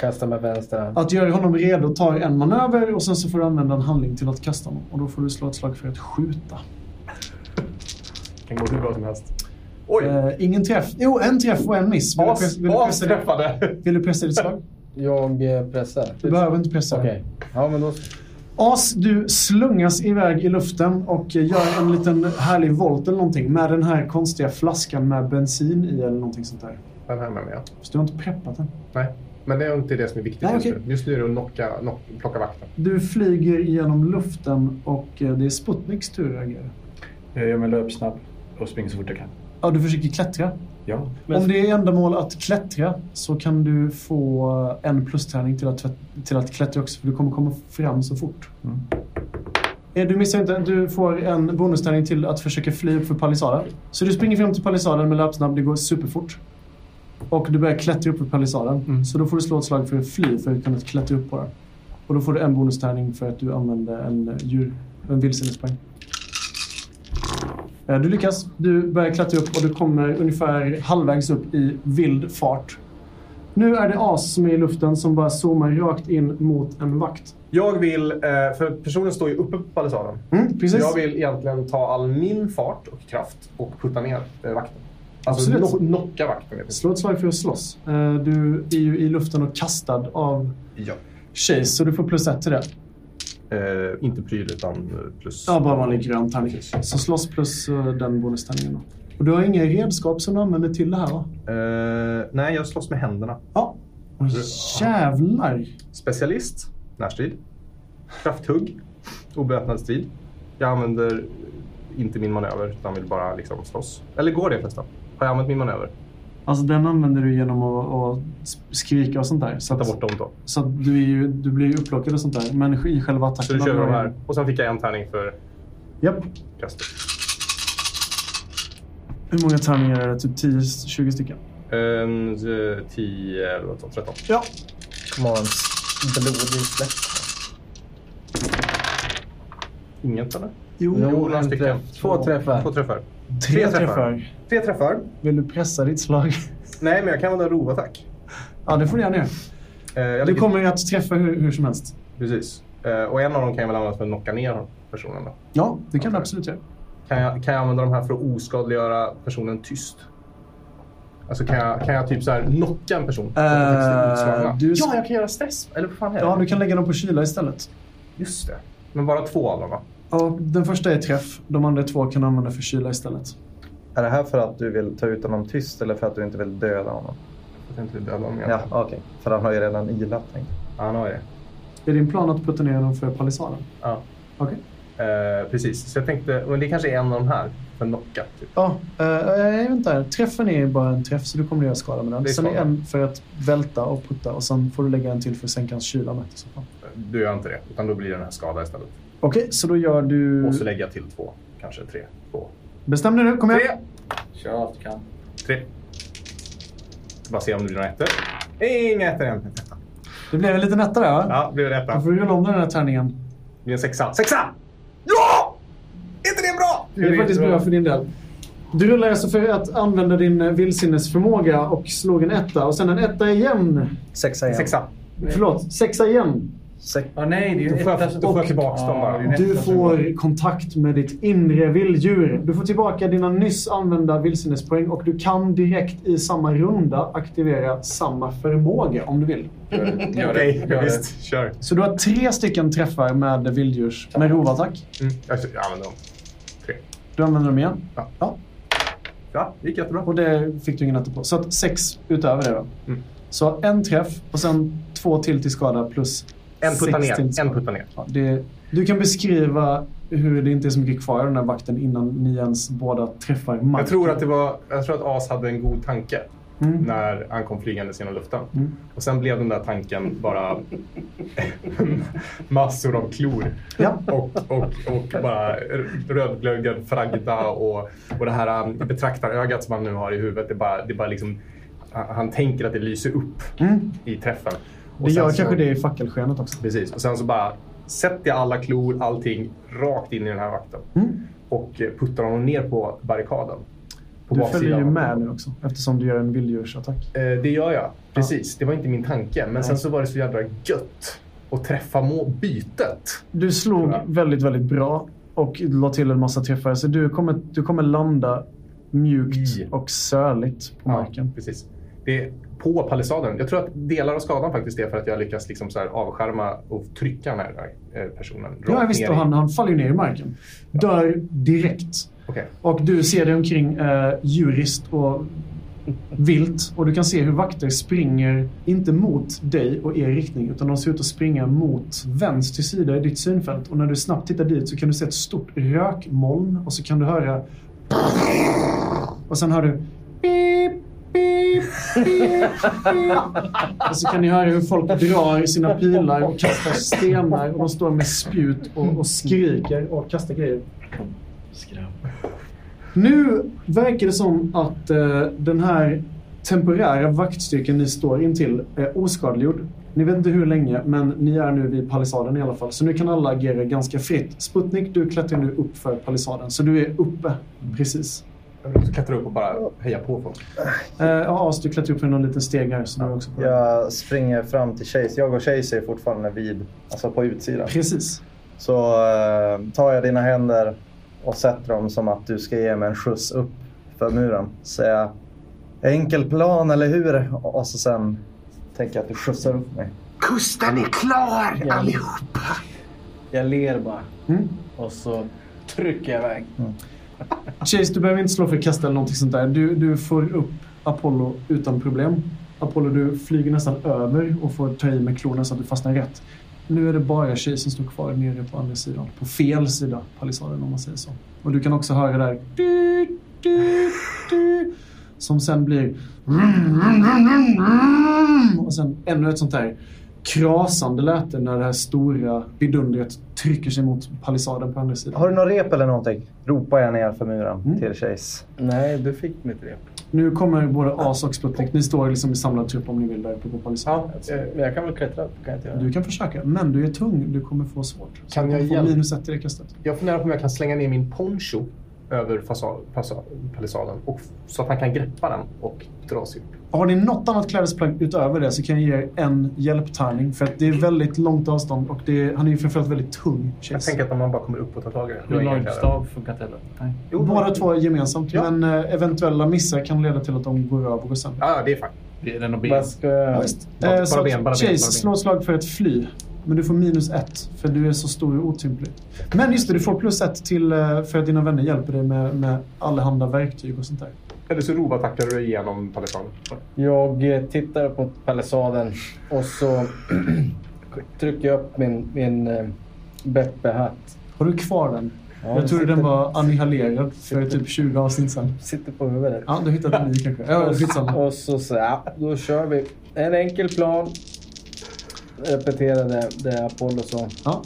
Speaker 1: Kastar med vänster hand.
Speaker 7: Att göra honom redo tar en manöver och sen så får du använda en handling till att kasta honom. Och då får du slå ett slag för att skjuta.
Speaker 9: kan gå hur bra som helst. Oj!
Speaker 7: Eh, ingen träff. Jo, en träff och en miss. Vill du
Speaker 9: As,
Speaker 7: pressa- vill du
Speaker 9: as
Speaker 7: pressa ditt-
Speaker 9: träffade!
Speaker 7: vill du pressa ditt slag?
Speaker 1: Jag eh, pressar.
Speaker 7: Du behöver inte pressa.
Speaker 1: Okej. Ja, men då...
Speaker 7: As, du slungas iväg i luften och eh, gör en liten härlig volt eller någonting med den här konstiga flaskan med bensin i eller någonting sånt där.
Speaker 9: Den här med mig, ja.
Speaker 7: Fast du har inte preppat den.
Speaker 9: Nej, men det är inte det som är viktigt
Speaker 7: Nej,
Speaker 9: just
Speaker 7: okej.
Speaker 9: nu. Just nu är det att knocka, knock, plocka vakten.
Speaker 7: Du flyger genom luften och eh, det är Sputniks tur att agera.
Speaker 8: Jag gör mig löpsnabb och springer så fort jag kan.
Speaker 7: Ja, du försöker klättra.
Speaker 8: Ja.
Speaker 5: Men-
Speaker 7: Om det är ändamål att klättra så kan du få en plustärning till att, tvätt- till att klättra också för du kommer komma fram så fort.
Speaker 8: Mm.
Speaker 7: Eh, Du missar inte, du får en bonustärning till att försöka fly upp för palissaden. Så du springer fram till palissaden med löpsnabb, det går superfort. Och du börjar klättra upp för palissaden.
Speaker 8: Mm.
Speaker 7: Så då får du slå ett slag för att fly för att kunna klättra upp på den. Och då får du en bonustärning för att du använde en eh, djur, en vildsinnespoäng. Eh, Du lyckas. Du börjar klättra upp och du kommer ungefär halvvägs upp i vild fart. Nu är det as som är i luften som bara zoomar rakt in mot en vakt.
Speaker 9: Jag vill, eh, för personen står ju uppe på palissaden.
Speaker 7: Mm, precis.
Speaker 9: Jag vill egentligen ta all min fart och kraft och putta ner eh, vakten. Alltså
Speaker 7: Absolut.
Speaker 9: no- knocka vakten. heter
Speaker 7: Slå ett slag för att slåss. Eh, Du är ju i luften och kastad av
Speaker 9: det. Ja.
Speaker 7: Chase, så du får plus ett till det.
Speaker 9: Eh, inte pryl utan eh, plus...
Speaker 7: Ja, bara vanlig grön tärning. Så slåss plus eh, den bonustärningen. då. Och du har inga redskap som du använder till det här va?
Speaker 9: Eh, nej, jag slåss med händerna.
Speaker 7: Ja. Åh, jävlar.
Speaker 9: Specialist, närstrid. Krafthugg, obeväpnad strid. Jag använder inte min manöver utan vill bara liksom slåss. Eller går det förresten? Har jag använt min manöver?
Speaker 7: Alltså den använder du genom att, att skrika och sånt där. Så
Speaker 9: Ta
Speaker 7: att-
Speaker 9: bort dem då.
Speaker 7: Så att du, är ju, du blir ju upplockad och sånt där. Men i själva attacken...
Speaker 9: Så du kör vi de här. Och sen fick jag en tärning för
Speaker 7: Japp.
Speaker 9: kastet.
Speaker 7: Hur många tärningar är det? Typ 10-20 stycken?
Speaker 9: Ehm, eh, 10, 11, 12, 13.
Speaker 7: Ja.
Speaker 3: Commands. Blodig släkt.
Speaker 9: Inget eller?
Speaker 7: Jo.
Speaker 1: Jo,
Speaker 9: några
Speaker 1: en
Speaker 9: stycken.
Speaker 1: träff. Två träffar.
Speaker 9: Två träffar.
Speaker 7: tre,
Speaker 9: tre
Speaker 7: träffar.
Speaker 9: träffar. Tre träffar.
Speaker 7: Vill du pressa ditt slag?
Speaker 9: Nej, men jag kan använda rovattack.
Speaker 7: ja, det får du gärna göra.
Speaker 9: Eh, jag
Speaker 7: Du
Speaker 9: ligger-
Speaker 7: kommer ju att träffa hur, hur som helst.
Speaker 9: Precis. Eh, och en av dem kan jag väl använda för att knocka ner personen. Då.
Speaker 7: Ja, Eh, det kan du
Speaker 9: Okej.
Speaker 7: absolut göra.
Speaker 9: Kan, jag, kan jag använda de här för att oskadliggöra personen tyst? Alltså kan jag, kan jag typ så här knocka en person? För att de faktiskt
Speaker 3: Eh,
Speaker 9: är utslagna?
Speaker 7: du-
Speaker 9: Ja, jag kan göra stress. Eller vad fan är det?
Speaker 7: Ja, du kan lägga dem på kyla istället.
Speaker 9: Just det. Men bara två av dem va?
Speaker 7: Ja, den första är träff. De andra två kan du använda för kyla istället.
Speaker 3: Är det här för att du vill ta ut honom tyst eller för att du inte vill döda honom?
Speaker 9: Jag tänkte typ döda dem
Speaker 3: Ja,
Speaker 9: egentligen.
Speaker 3: okej. För han har ju redan ilat. tänker jag.
Speaker 9: Ja, han har ju det.
Speaker 7: Är din plan att putta ner dem för palissaden?
Speaker 9: Ja.
Speaker 7: Okej.
Speaker 9: Eh, precis. Så jag tänkte, men det kanske är en av de här för knocka. Typ.
Speaker 7: Ja, eh, eh, vänta här. Träffen är ju bara en träff så du kommer att göra skada med den.
Speaker 9: Det är
Speaker 7: sen är
Speaker 9: skada.
Speaker 7: en för att välta och putta och sen får du lägga en till för att sänka hans kyla med. i så fall.
Speaker 9: Du gör inte det, utan då blir det den här skada istället.
Speaker 7: Okej, så då gör
Speaker 3: Mm.
Speaker 7: du...
Speaker 9: Och så lägger jag till två, kanske tre. Två.
Speaker 7: Bestäm dig nu, kom igen!
Speaker 9: Tre!
Speaker 8: Kör allt du kan.
Speaker 9: Tre. Bara se om det blir några ettor. Inga ettor än.
Speaker 7: Det blev en liten etta där va?
Speaker 9: Ja, blir det
Speaker 7: Då
Speaker 9: etta.
Speaker 7: får du rulla om den här tärningen.
Speaker 9: Det blir en sexa. Sexa! Ja! Är inte det bra?
Speaker 7: Det är faktiskt bra för din del. Du rullar alltså för att använda din eh, vildsinnesförmåga och slog en etta och sen en etta igen.
Speaker 3: Sexa igen.
Speaker 9: Sexa.
Speaker 7: Förlåt, sexa igen.
Speaker 3: Sex.
Speaker 8: Ja, nej, det är ju
Speaker 9: Då får jag,
Speaker 8: etta-
Speaker 9: då får jag
Speaker 8: och-
Speaker 9: tillbaka dem
Speaker 8: Ja,
Speaker 9: bara.
Speaker 8: det är ju
Speaker 7: Du
Speaker 8: nästa som går.
Speaker 7: får kontakt med ditt inre vilddjur. Du får tillbaka dina nyss använda vildsinnespoäng och du kan direkt i samma runda aktivera samma förmåga om du vill.
Speaker 8: Gör det, gör det,
Speaker 9: Okej,
Speaker 8: gör det.
Speaker 9: visst. Kör.
Speaker 7: Så du har tre stycken träffar med vilddjurs... Med rovattack.
Speaker 9: Mm. Jag jag använder dem. Tre.
Speaker 7: Du använder dem igen.
Speaker 9: Ja.
Speaker 7: Ja.
Speaker 9: Ja, det gick jättebra.
Speaker 7: Och det fick du ingen etta på. Så att sex utöver det då.
Speaker 9: Mm.
Speaker 7: Så en träff och sen två till till skada plus
Speaker 9: En puttar
Speaker 7: sex till
Speaker 9: ner.
Speaker 7: skada.
Speaker 9: En puttar ner.
Speaker 7: Ja, det, du kan beskriva hur det inte är så mycket kvar av den här vakten innan ni ens båda träffar marken.
Speaker 9: Jag tror att, det var, jag tror att As hade en god tanke
Speaker 7: Mm.
Speaker 9: när han kom flygandes genom luften.
Speaker 7: Mm.
Speaker 9: Och sen blev den där tanken bara massor av klor.
Speaker 7: Ja.
Speaker 9: Och, och, och bara rödglödgad fragda och, och det här um, betraktarögat som han nu har i huvudet. Det bara, det bara liksom, han han tänker att det lyser upp
Speaker 7: Mm.
Speaker 9: i träffen. Och
Speaker 7: Det
Speaker 9: sen
Speaker 7: gör
Speaker 9: så-
Speaker 7: kanske det i fackelskenet också.
Speaker 9: Precis. Och sen så bara sätter jag alla klor, allting, rakt in i den här vakten.
Speaker 7: Mm.
Speaker 9: Och eh, puttar honom ner på barrikaden. På
Speaker 7: Du
Speaker 9: baksidan
Speaker 7: följer ju
Speaker 9: av-
Speaker 7: med nu också eftersom du gör en vilddjursattack.
Speaker 9: Eh, Det gör jag. Precis. Det var inte min tanke. Men sen så var det så jävla gött att träffa må- bytet.
Speaker 7: Du slog
Speaker 9: Ja.
Speaker 7: väldigt, väldigt bra och la till en massa träffar. Så du kommer, du kommer landa mjukt
Speaker 9: I.
Speaker 7: och söligt på marken.
Speaker 9: precis. Det är på palissaden. Jag tror att delar av skadan faktiskt är för att jag lyckas liksom så här avskärma och trycka den här eh, personen. rakt
Speaker 7: Ja, visst.
Speaker 9: ner
Speaker 7: Och
Speaker 9: i-
Speaker 7: han, han faller ju ner i marken. Dör direkt.
Speaker 9: Okej.
Speaker 7: Och du ser dig omkring eh, djuriskt och vilt. Och du kan se hur vakter springer, inte mot dig och er riktning, utan de ser ut att springa mot vänster sida i ditt synfält. Och när du snabbt tittar dit så kan du se ett stort rökmoln och så kan du höra... Och sen hör du... Och så kan ni höra hur folk drar sina pilar och kastar stenar och de står med spjut och, och skriker och kastar grejer. Nu verkar det som att eh, den här temporära vaktstyrkan ni står intill är oskadliggjord. Ni vet inte hur länge, men ni är nu vid palissaden i alla fall. Så nu kan alla agera ganska fritt. Sputnik, du klättrar nu upp för palissaden. Så du är uppe, precis.
Speaker 9: Jag vill också klättra upp och bara heja på folk.
Speaker 7: Eh, ja, As, du klättrar upp för någon liten steg här. Så du är också på
Speaker 3: Jag springer fram till Chase. Jag och Chase är fortfarande vid, alltså på utsidan.
Speaker 7: Precis.
Speaker 3: Så eh, tar jag dina händer och sätter dem som att du ska ge mig en skjuts upp för muren. Säga enkel plan, eller hur? Och så sen tänker jag att du skjutsar upp mig.
Speaker 10: Kusten är klar
Speaker 1: Ja.
Speaker 10: allihopa!
Speaker 1: Jag ler bara
Speaker 7: Mm.
Speaker 1: och så trycker jag iväg.
Speaker 7: Chase, du behöver inte slå för att kasta eller någonting sånt där. Du, du får upp Apollo utan problem. Apollo, du flyger nästan över och får ta i med klorna så att du fastnar rätt. Nu är det bara Chase som står kvar nere på andra sidan. På fel sida palissaden om man säger så. Och du kan också höra där... Du, du, du, som sen blir... Och sen ännu ett sånt där krasande läte när det här stora bidundret trycker sig mot palissaden på andra sidan.
Speaker 3: Har du någon rep eller någonting? Ropar jag ner för muren
Speaker 7: Mm.
Speaker 3: till Chase.
Speaker 1: Nej, du fick mitt rep.
Speaker 7: Nu kommer både As och Sputnik. Ni står liksom i samlad trupp om ni vill där uppe på palissaden.
Speaker 1: Jag, Alltså, jag kan väl klättra upp, kan jag inte göra?
Speaker 7: Du kan försöka, men du är tung. Du kommer få svårt. Så
Speaker 9: Kan
Speaker 7: du
Speaker 9: jag
Speaker 7: kommer få
Speaker 9: hjälp-
Speaker 7: minus ett i det kastet.
Speaker 9: Jag funderar på om jag kan slänga ner min poncho över fasa- fasa- palissaden och, f- så att han kan greppa den och dra sig upp.
Speaker 7: Har ni något annat klädesplagg utöver det så kan jag ge er en hjälptärning. För att det är väldigt långt avstånd och det är, han är ju framförallt väldigt tung.
Speaker 9: Jag
Speaker 7: Chase.
Speaker 9: tänker att om man bara kommer upp och tar tag i den. då är jag klar.
Speaker 8: Lagstav funkar inte heller. Nej.
Speaker 9: Jo,
Speaker 7: Båda två är gemensamt,
Speaker 9: Ja.
Speaker 7: men eh, eventuella missar kan leda till att de går över och går sönder.
Speaker 9: Ja, ja, det är fine.
Speaker 8: Det är den och ben.
Speaker 1: Vad ska
Speaker 9: Bara-
Speaker 1: jag...
Speaker 7: Eh,
Speaker 9: bara
Speaker 7: så att
Speaker 9: ben, bara ben, bara
Speaker 7: Chase,
Speaker 9: ben.
Speaker 7: slå ett slag för att fly. Men du får minus ett, för du är så stor och otymplig. Men just det, du får plus ett till, eh, för att dina vänner hjälper dig med, med allehanda verktyg och sånt där.
Speaker 9: Eller så rovattackar du igenom palissaden.
Speaker 1: Jag eh, tittar upp mot palissaden och så trycker jag upp min, min eh, Beppe-hatt.
Speaker 7: Har du kvar den?
Speaker 1: Ja,
Speaker 7: jag trodde
Speaker 1: sitter-
Speaker 7: den var annihilerad för typ 20 avsnitt sedan.
Speaker 1: Sitter på huvudet.
Speaker 7: Ja, du har hittat en ny kanske. Ja, skitsamma.
Speaker 1: Och så så ja, då kör vi. En enkel plan. Repetera det, det Apollo sa.
Speaker 7: Ja,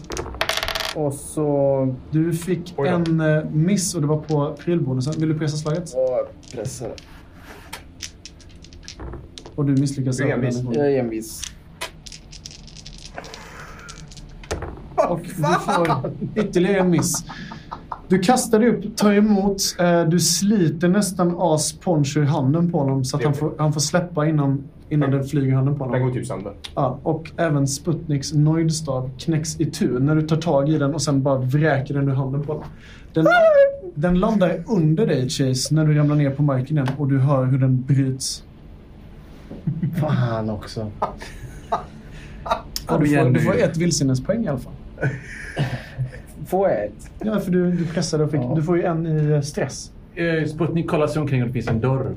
Speaker 1: Och så...
Speaker 7: du fick
Speaker 9: Oj då.
Speaker 7: en eh, miss och det var på prylbonusen. Vill du pressa slaget?
Speaker 1: Jag pressar.
Speaker 7: Och du misslyckas.
Speaker 9: Du är
Speaker 7: även
Speaker 9: envis.
Speaker 7: denna gången.
Speaker 1: Jag är envis.
Speaker 7: Och du får ytterligare en miss. Du kastar dig upp, tar emot, eh, du sliter nästan As poncho i handen på honom så att han får, han får släppa innan, innan den flyger i handen på
Speaker 9: Den går
Speaker 7: honom.
Speaker 9: typ sönder.
Speaker 7: Ja, och även Sputniks nojdstav knäcks i tur när du tar tag i den och sen bara vräker den ur handen på honom. Den, den landar under dig Chase när du ramlar ner på marken igen och du hör hur den bryts.
Speaker 1: Fan också.
Speaker 7: Ja,
Speaker 8: Kom
Speaker 7: du, får,
Speaker 8: igen
Speaker 7: du
Speaker 8: nu.
Speaker 7: får ett villsinnespoäng i alla fall.
Speaker 1: Får jag ett?
Speaker 7: Ja, för du, du pressade och fick. Du får ju en i eh, stress.
Speaker 8: Eh, Sputnik kollar sig omkring och det finns en dörr.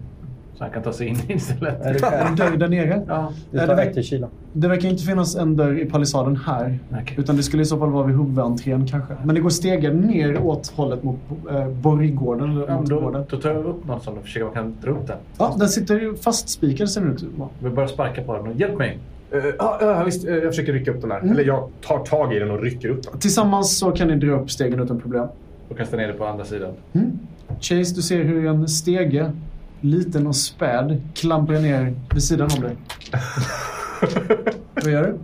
Speaker 8: Så han kan ta sig in istället.
Speaker 1: Är det
Speaker 7: En
Speaker 1: fem?
Speaker 7: dörr där nere.
Speaker 8: Ja.
Speaker 3: Du
Speaker 7: Ja,
Speaker 3: tar
Speaker 7: det var-
Speaker 3: ett till kylan.
Speaker 7: Det verkar inte finnas en dörr i palissaden här.
Speaker 8: Okej.
Speaker 7: Utan det skulle i så fall vara vid huvudentrén kanske. Men det går stegar ner åt hållet mot eh, borggården. Eller
Speaker 8: Ja,
Speaker 7: mot
Speaker 8: men
Speaker 7: gården.
Speaker 8: då, då tar jag upp någon sån och försöker man kan dra upp den.
Speaker 7: Ja, den sitter ju fastspikad ser det ut som.
Speaker 8: Vi börjar sparka på den. och Hjälp mig!
Speaker 9: Eh, Ja, ja, visst. eh, jag försöker rycka upp den här. Eller jag tar tag i den och rycker upp den.
Speaker 7: Tillsammans så kan ni dra upp stegen utan problem.
Speaker 8: Och kastar ner det på andra sidan.
Speaker 7: Mm. Chase, du ser hur en stege, liten och späd, klampar ner vid sidan om dig. Vad gör du?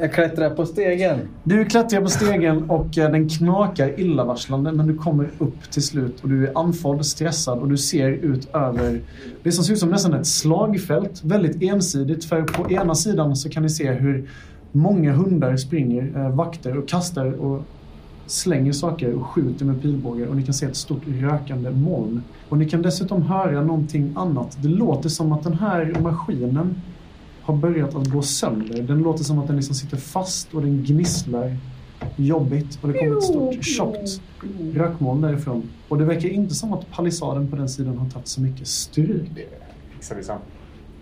Speaker 1: Jag klättrar på stegen.
Speaker 7: Du klättrar på stegen och eh, den knakar illavarslande men du kommer upp till slut och du är andfådd, stressad och du ser ut över det som ser ut som nästan ett slagfält. Väldigt ensidigt för på ena sidan så kan ni se hur många hundar springer, eh, vakter och kastar och slänger saker och skjuter med pilbågar och ni kan se ett stort rökande moln. Och ni kan dessutom höra någonting annat. Det låter som att den här maskinen har börjat att gå sönder. Den låter som att den liksom sitter fast och den gnisslar jobbigt och det kommer ett stort tjockt rökmoln därifrån. Och det verkar inte som att palissaden på den sidan har tagit så mycket stryk.
Speaker 9: Fixar vi sen.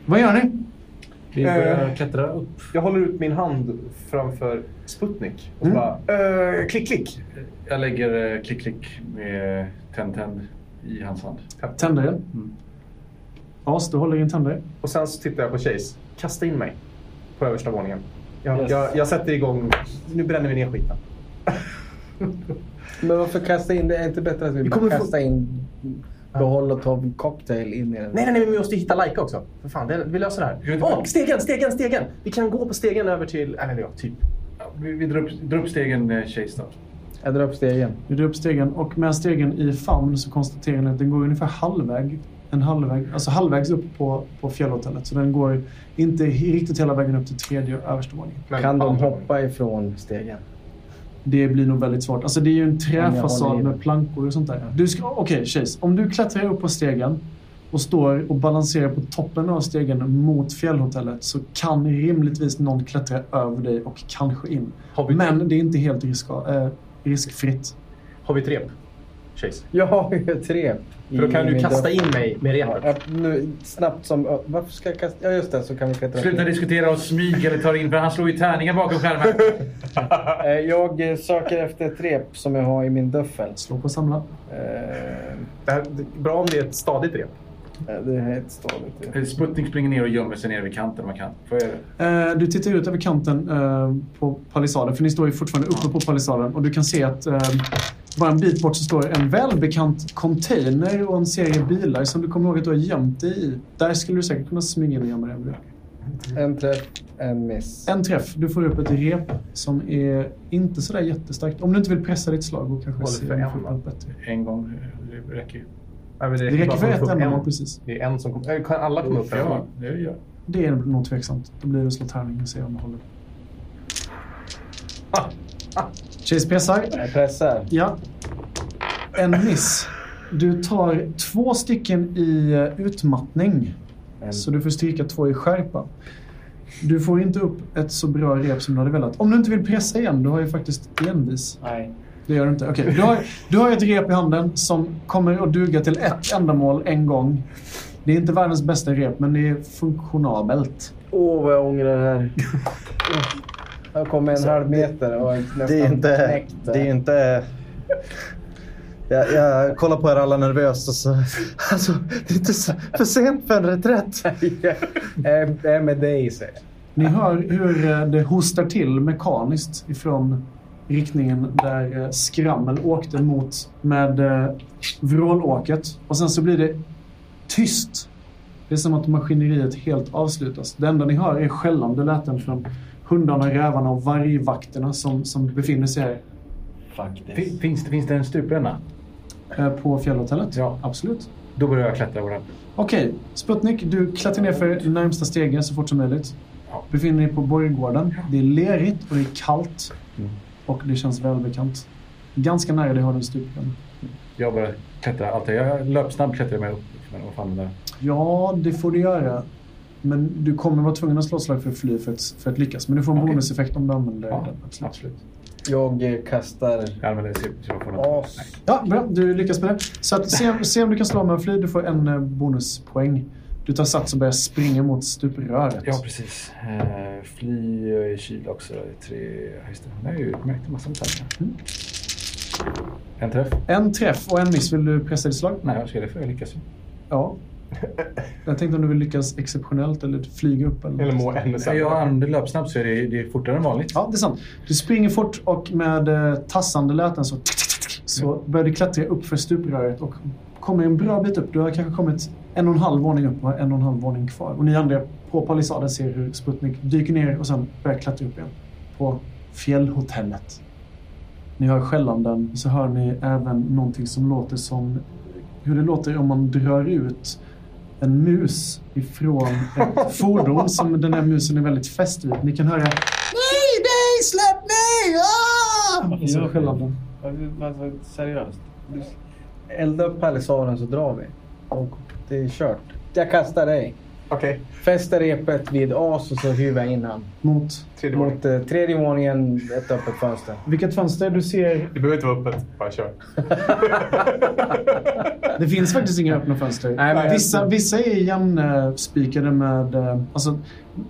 Speaker 7: Vad gör ni?
Speaker 8: Vi
Speaker 9: Eh.
Speaker 8: börjar klättra upp.
Speaker 9: Jag håller ut min hand framför Sputnik och
Speaker 7: Mm.
Speaker 9: bara eh, klick, klick.
Speaker 8: Jag eh, lägger eh, klick-klick med tänd-tänd i hans hand.
Speaker 7: Tänder den. As, du håller i en tändare.
Speaker 9: Och sen så tittar jag på Chase. Kasta in mig på översta våningen. Jag, jag, jag sätter igång. Nu bränner vi ner skiten.
Speaker 1: Men varför kasta in det? Är det inte bättre att vi bara
Speaker 9: kommer få-
Speaker 1: kastar in behåll och ta en cocktail in i den?
Speaker 9: Nej, nej, nej, men vi måste hitta Laika också. För fan, det, vi löser det här. Åh, stegen, stegen, stegen! Vi kan gå på stegen över till... Eller ja, typ.
Speaker 8: Ja, Vi, vi drar upp, drar upp stegen eh, Chase snart.
Speaker 1: Jag drar upp stegen.
Speaker 7: Du drar upp stegen och med stegen i famn så konstaterar ni att den går ungefär halvväg. En halvväg, alltså halvvägs upp på, på fjällhotellet. Så den går inte he- riktigt hela vägen upp till tredje och översta våningen.
Speaker 9: Men
Speaker 1: Kan de
Speaker 9: andra-
Speaker 1: hoppa ifrån stegen?
Speaker 7: Det blir nog väldigt svårt. Alltså det är ju en
Speaker 1: jag håller i
Speaker 7: träfasad
Speaker 1: den.
Speaker 7: med plankor och sånt där. Du ska- Okej, Chase. Om du klättrar upp på stegen och står och balanserar på toppen av stegen mot fjällhotellet så kan rimligtvis någon klättra över dig och kanske in.
Speaker 9: Har vi-
Speaker 7: Men det är inte helt riska, eh, riskfritt.
Speaker 9: Har vi ett rep? Chase.
Speaker 1: Jag har ju ett rep.
Speaker 9: För då kan
Speaker 1: i
Speaker 9: du
Speaker 1: min
Speaker 9: kasta
Speaker 1: dörr.
Speaker 9: in mig med
Speaker 1: Ja,
Speaker 9: repet.
Speaker 1: jag- nu, snabbt som... Varför ska jag kasta? Ja, just det. Så kan vi klättra.
Speaker 8: Sluta diskutera och smyg eller ta in för han slår ju tärningar bakom skärmen.
Speaker 1: Eh, Jag eh, söker efter ett rep som jag har i min duffel.
Speaker 7: Slå på samla.
Speaker 1: Eh,
Speaker 9: Det här, det, är bra om det är ett stadigt rep.
Speaker 1: Det här är ett stadigt rep.
Speaker 8: Eh, Sputnik springer ner och gömmer sig nere vid kanten om han kan. Får jag göra det?
Speaker 7: Eh, du tittar ut över kanten eh, på palissaden, för ni står ju fortfarande uppe på palissaden. Och du kan se att eh, bara en bit bort så står en välbekant container och en serie bilar som du kommer ihåg att du har gömt dig i. Där skulle du säkert kunna smyga in och gömma dig. om du vill.
Speaker 1: En träff, en miss.
Speaker 7: En träff. Du får upp ett rep som är inte sådär jättestarkt. Om du inte vill pressa ditt slag och kanske
Speaker 9: Håller
Speaker 7: se
Speaker 9: för
Speaker 7: om du
Speaker 9: en,
Speaker 7: får
Speaker 9: va?
Speaker 7: upp bättre.
Speaker 8: En gång eh, det räcker ju.
Speaker 9: Nej, men
Speaker 7: Det räcker
Speaker 9: bara
Speaker 7: för
Speaker 9: att få
Speaker 7: ett
Speaker 9: upp
Speaker 7: ändamål,
Speaker 9: en.
Speaker 7: precis.
Speaker 9: Det är en som kommer... Kan alla komma upp?
Speaker 8: Ja, det gör jag.
Speaker 7: Det är nog tveksamt. Då blir det att slå tärning och se om du håller. Chase pressar.
Speaker 1: Jag pressar.
Speaker 7: Ja. En miss. Du tar två stycken i eh, utmattning. Så du får stryka två i skärpa. Du får inte upp ett så bra rep som du hade velat. Om du inte vill pressa igen, du har ju faktiskt envis.
Speaker 1: Nej.
Speaker 7: Det gör du inte. Okej, du, har, du har ett rep i handen som kommer att duga till ett ändamål en gång. Det är inte världens bästa rep, men det är funktionabelt.
Speaker 1: Åh, vad jag ångrar det här. Jag kom en halv meter och jag nästan
Speaker 3: Det är inte...
Speaker 1: knäckt.
Speaker 3: Det är inte... Jag, jag kollar på er alla nervöst och så... Alltså, det är inte så, för sent för en reträtt.
Speaker 1: Jag är med dig, säger jag.
Speaker 7: Ni hör hur eh, det hostar till mekaniskt ifrån riktningen där eh, skrammel åkte mot med eh, vrålåket. Och sen så blir det tyst. Det är som att maskineriet helt avslutas. Det enda ni hör är skällande läten från hundarna, rävarna och vargvakterna som, som befinner sig här
Speaker 8: Fin- Finns, det- finns det en stupränna?
Speaker 7: eh, på fjällhotellet.
Speaker 8: Ja.
Speaker 7: absolut.
Speaker 8: Då börjar jag klättra på den.
Speaker 7: Okej, Sputnik, du klättrar ner för närmsta stegen så fort som möjligt. Befinner dig på borggården. Det är lerigt och det är kallt.
Speaker 8: Mm.
Speaker 7: Och det känns välbekant. Ganska nära dig har du en stupränna.
Speaker 8: Jag börjar klättra. Allt jag- jag löpsnabb klättrar jag mig upp. Men vad fan är det där?
Speaker 7: Ja, det får du göra. Men du kommer vara tvungen att slå ett slag för att fly för att, för att lyckas. Men du får en
Speaker 8: Okej.
Speaker 7: bonuseffekt om du använder
Speaker 8: Ja,
Speaker 7: den. Absolut.
Speaker 8: absolut.
Speaker 1: Jag eh, kastar
Speaker 8: Jag använder det så jag får något.
Speaker 1: as.
Speaker 8: Nej.
Speaker 7: Ja, bra. Du lyckas med det. Så att, se, se om du kan slå med en fly. Du får en eh, bonuspoäng. Du tar sats och börjar springa mot stupröret.
Speaker 8: Ja, precis. Eh, fly jag är i kyla också. Jag är Tre... ja, Just det. Det är ju utmärkt. En massa detaljer.
Speaker 7: Mm.
Speaker 8: En träff.
Speaker 7: En träff och en miss. Vill du pressa ditt slag?
Speaker 8: Nej, jag ser det för jag lyckas ju.
Speaker 7: Ja. Jag tänkte om du vill lyckas exceptionellt eller flyga upp. Eller,
Speaker 9: Eller må ännu
Speaker 8: Nej,
Speaker 9: sämre.
Speaker 8: Jag använder löpsnabb så är det, det är fortare än vanligt.
Speaker 7: Ja, det är sant. Du springer fort och med eh, tassande läten så, så börjar du klättra upp för stupröret och kommer en bra bit upp. Du har kanske kommit en och en halv våning upp och har en och en halv våning kvar. Och ni andra på palissaden ser hur Sputnik dyker ner och sen börjar klättra upp igen på fjällhotellet. Ni hör skällanden och så hör ni även någonting som låter som hur det låter om man drar ut en mus ifrån ett fordon som den här musen är väldigt fäst vid. Ni kan höra Nej, nej, släpp mig! Ah! Och så skällanden.
Speaker 1: Seriöst. Elda upp palissaden så drar vi. Och det är kört. Jag kastar dig.
Speaker 9: Okej,
Speaker 1: Fäster repet vid as och så hyvar jag in han.
Speaker 7: Mot
Speaker 9: tredje våningen.
Speaker 1: Mot eh, tredje våningen, ett öppet fönster.
Speaker 7: vilket fönster du ser.
Speaker 9: Det behöver inte vara öppet. Bara kör.
Speaker 7: Det finns faktiskt inga öppna fönster.
Speaker 1: Nej, men-
Speaker 7: vissa, vissa är igenspikade med... eh, Alltså,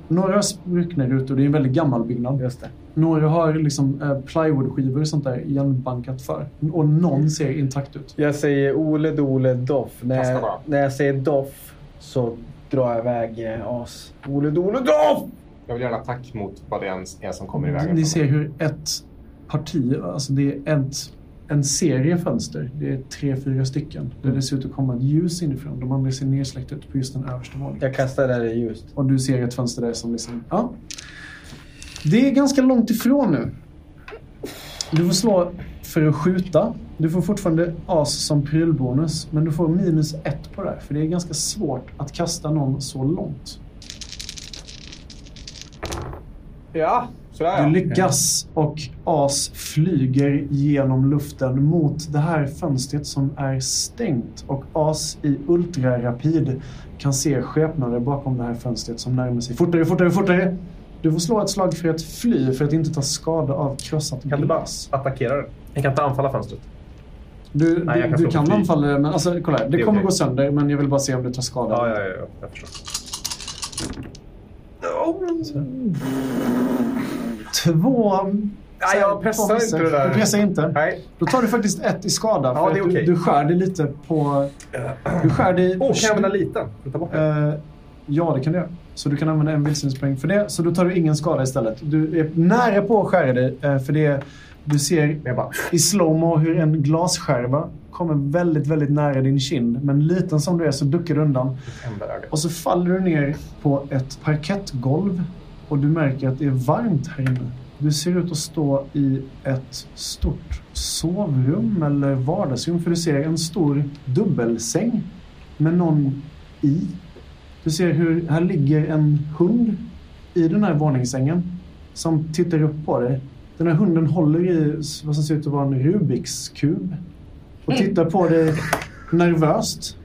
Speaker 7: några har spruckna rutor. Det är en väldigt gammal byggnad.
Speaker 1: Just det.
Speaker 7: Några har liksom eh, plywoodskivor och sånt där igenbankat för. Och någon ser intakt ut.
Speaker 1: Jag säger Ole Dole Doff. När
Speaker 9: Kasta
Speaker 1: jag,
Speaker 9: bara.
Speaker 1: när jag säger Doff så drar jag iväg eh, as. Ole dole doff!
Speaker 9: Jag vill göra en attack mot vad det än är som kommer i vägen.
Speaker 7: Ni ser hur ett parti, alltså det är ett, en serie fönster, det är tre, fyra stycken,
Speaker 9: Mm.
Speaker 7: där det ser ut att komma ett ljus inifrån. De andra ser nedsläckt ut på just den översta våningen.
Speaker 1: Jag kastar det där i ljuset.
Speaker 7: Och du ser ett fönster där som liksom... Ja. Det är ganska långt ifrån nu. Du får slå för att skjuta. Du får fortfarande as som prylbonus, men du får minus ett på det här, för det är ganska svårt att kasta någon så långt.
Speaker 9: Ja, sådär ja.
Speaker 7: Du lyckas och as flyger genom luften mot det här fönstret som är stängt och as i ultrarapid kan se skepnader bakom det här fönstret som närmar sig fortare, fortare, fortare. Du får slå ett slag för att fly för att inte ta skada av krossat
Speaker 9: Kan du
Speaker 7: glas.
Speaker 9: bara attackera den? Jag kan inte anfalla fönstret.
Speaker 7: Du,
Speaker 9: Nej, jag
Speaker 7: du,
Speaker 9: kan slå
Speaker 7: du kan
Speaker 9: för fly.
Speaker 7: anfalla det, men alltså, kolla här. Det,
Speaker 9: Det är
Speaker 7: kommer
Speaker 9: okej.
Speaker 7: gå sönder, men jag vill bara se om du tar skada.
Speaker 9: Ja, ja, ja, ja. jag förstår.
Speaker 7: Två...
Speaker 9: Nej, jag pressar
Speaker 7: två missar.
Speaker 9: inte det där.
Speaker 7: Du pressar inte?
Speaker 9: Nej.
Speaker 7: Då tar du faktiskt ett i skada.
Speaker 9: Ja, det är
Speaker 7: att du,
Speaker 9: okej. Eh,
Speaker 7: du skär dig lite på... Du skär dig...
Speaker 9: Åh, kan jag använda liten? Kan ta bort den?
Speaker 7: Eh, ja, det kan du göra. Så du kan använda en vildsvinspoäng för det. Så då tar du ingen skada istället. Du är nära på att skära dig, eh, för det... Du ser
Speaker 9: Jag bara...
Speaker 7: i slowmo hur en glasskärva kommer väldigt, väldigt nära din kind. Men liten som du är så duckar du undan.
Speaker 9: Enda ögat.
Speaker 7: Och så faller du ner på ett parkettgolv och du märker att det är varmt här inne. Du ser ut att stå i ett stort sovrum eller vardagsrum för du ser en stor dubbelsäng med någon i. Du ser hur här ligger en hund i den här våningssängen som tittar upp på dig. Den här hunden håller i vad som ser ut att vara en Rubiks kub och tittar på dig nervöst.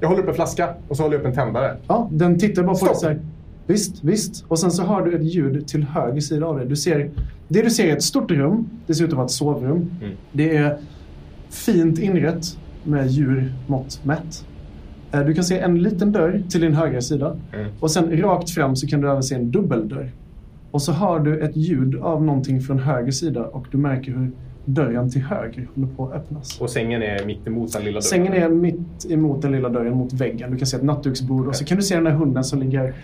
Speaker 9: Jag håller upp en flaska och så håller jag upp en tändare.
Speaker 7: Ja, den tittar bara på dig
Speaker 9: Stopp.
Speaker 7: så här. Visst, visst. Och sen så hör du ett ljud till höger sida av dig. Du ser, det du ser är ett stort rum. Det ser ut att vara ett sovrum.
Speaker 9: Mm.
Speaker 7: Det är fint inrett med djurmått mätt. Eh, Du kan se en liten dörr till din högra sida.
Speaker 9: Mm.
Speaker 7: Och sen rakt fram så kan du även se en dubbeldörr. Och så hör du ett ljud av någonting från höger sida och du märker hur dörren till höger håller på att öppnas.
Speaker 9: Och sängen är mitt emot den lilla dörren.
Speaker 7: Sängen är mitt emot den lilla dörren mot väggen. Du kan se ett nattduksbord och så kan du se den där hunden som ligger...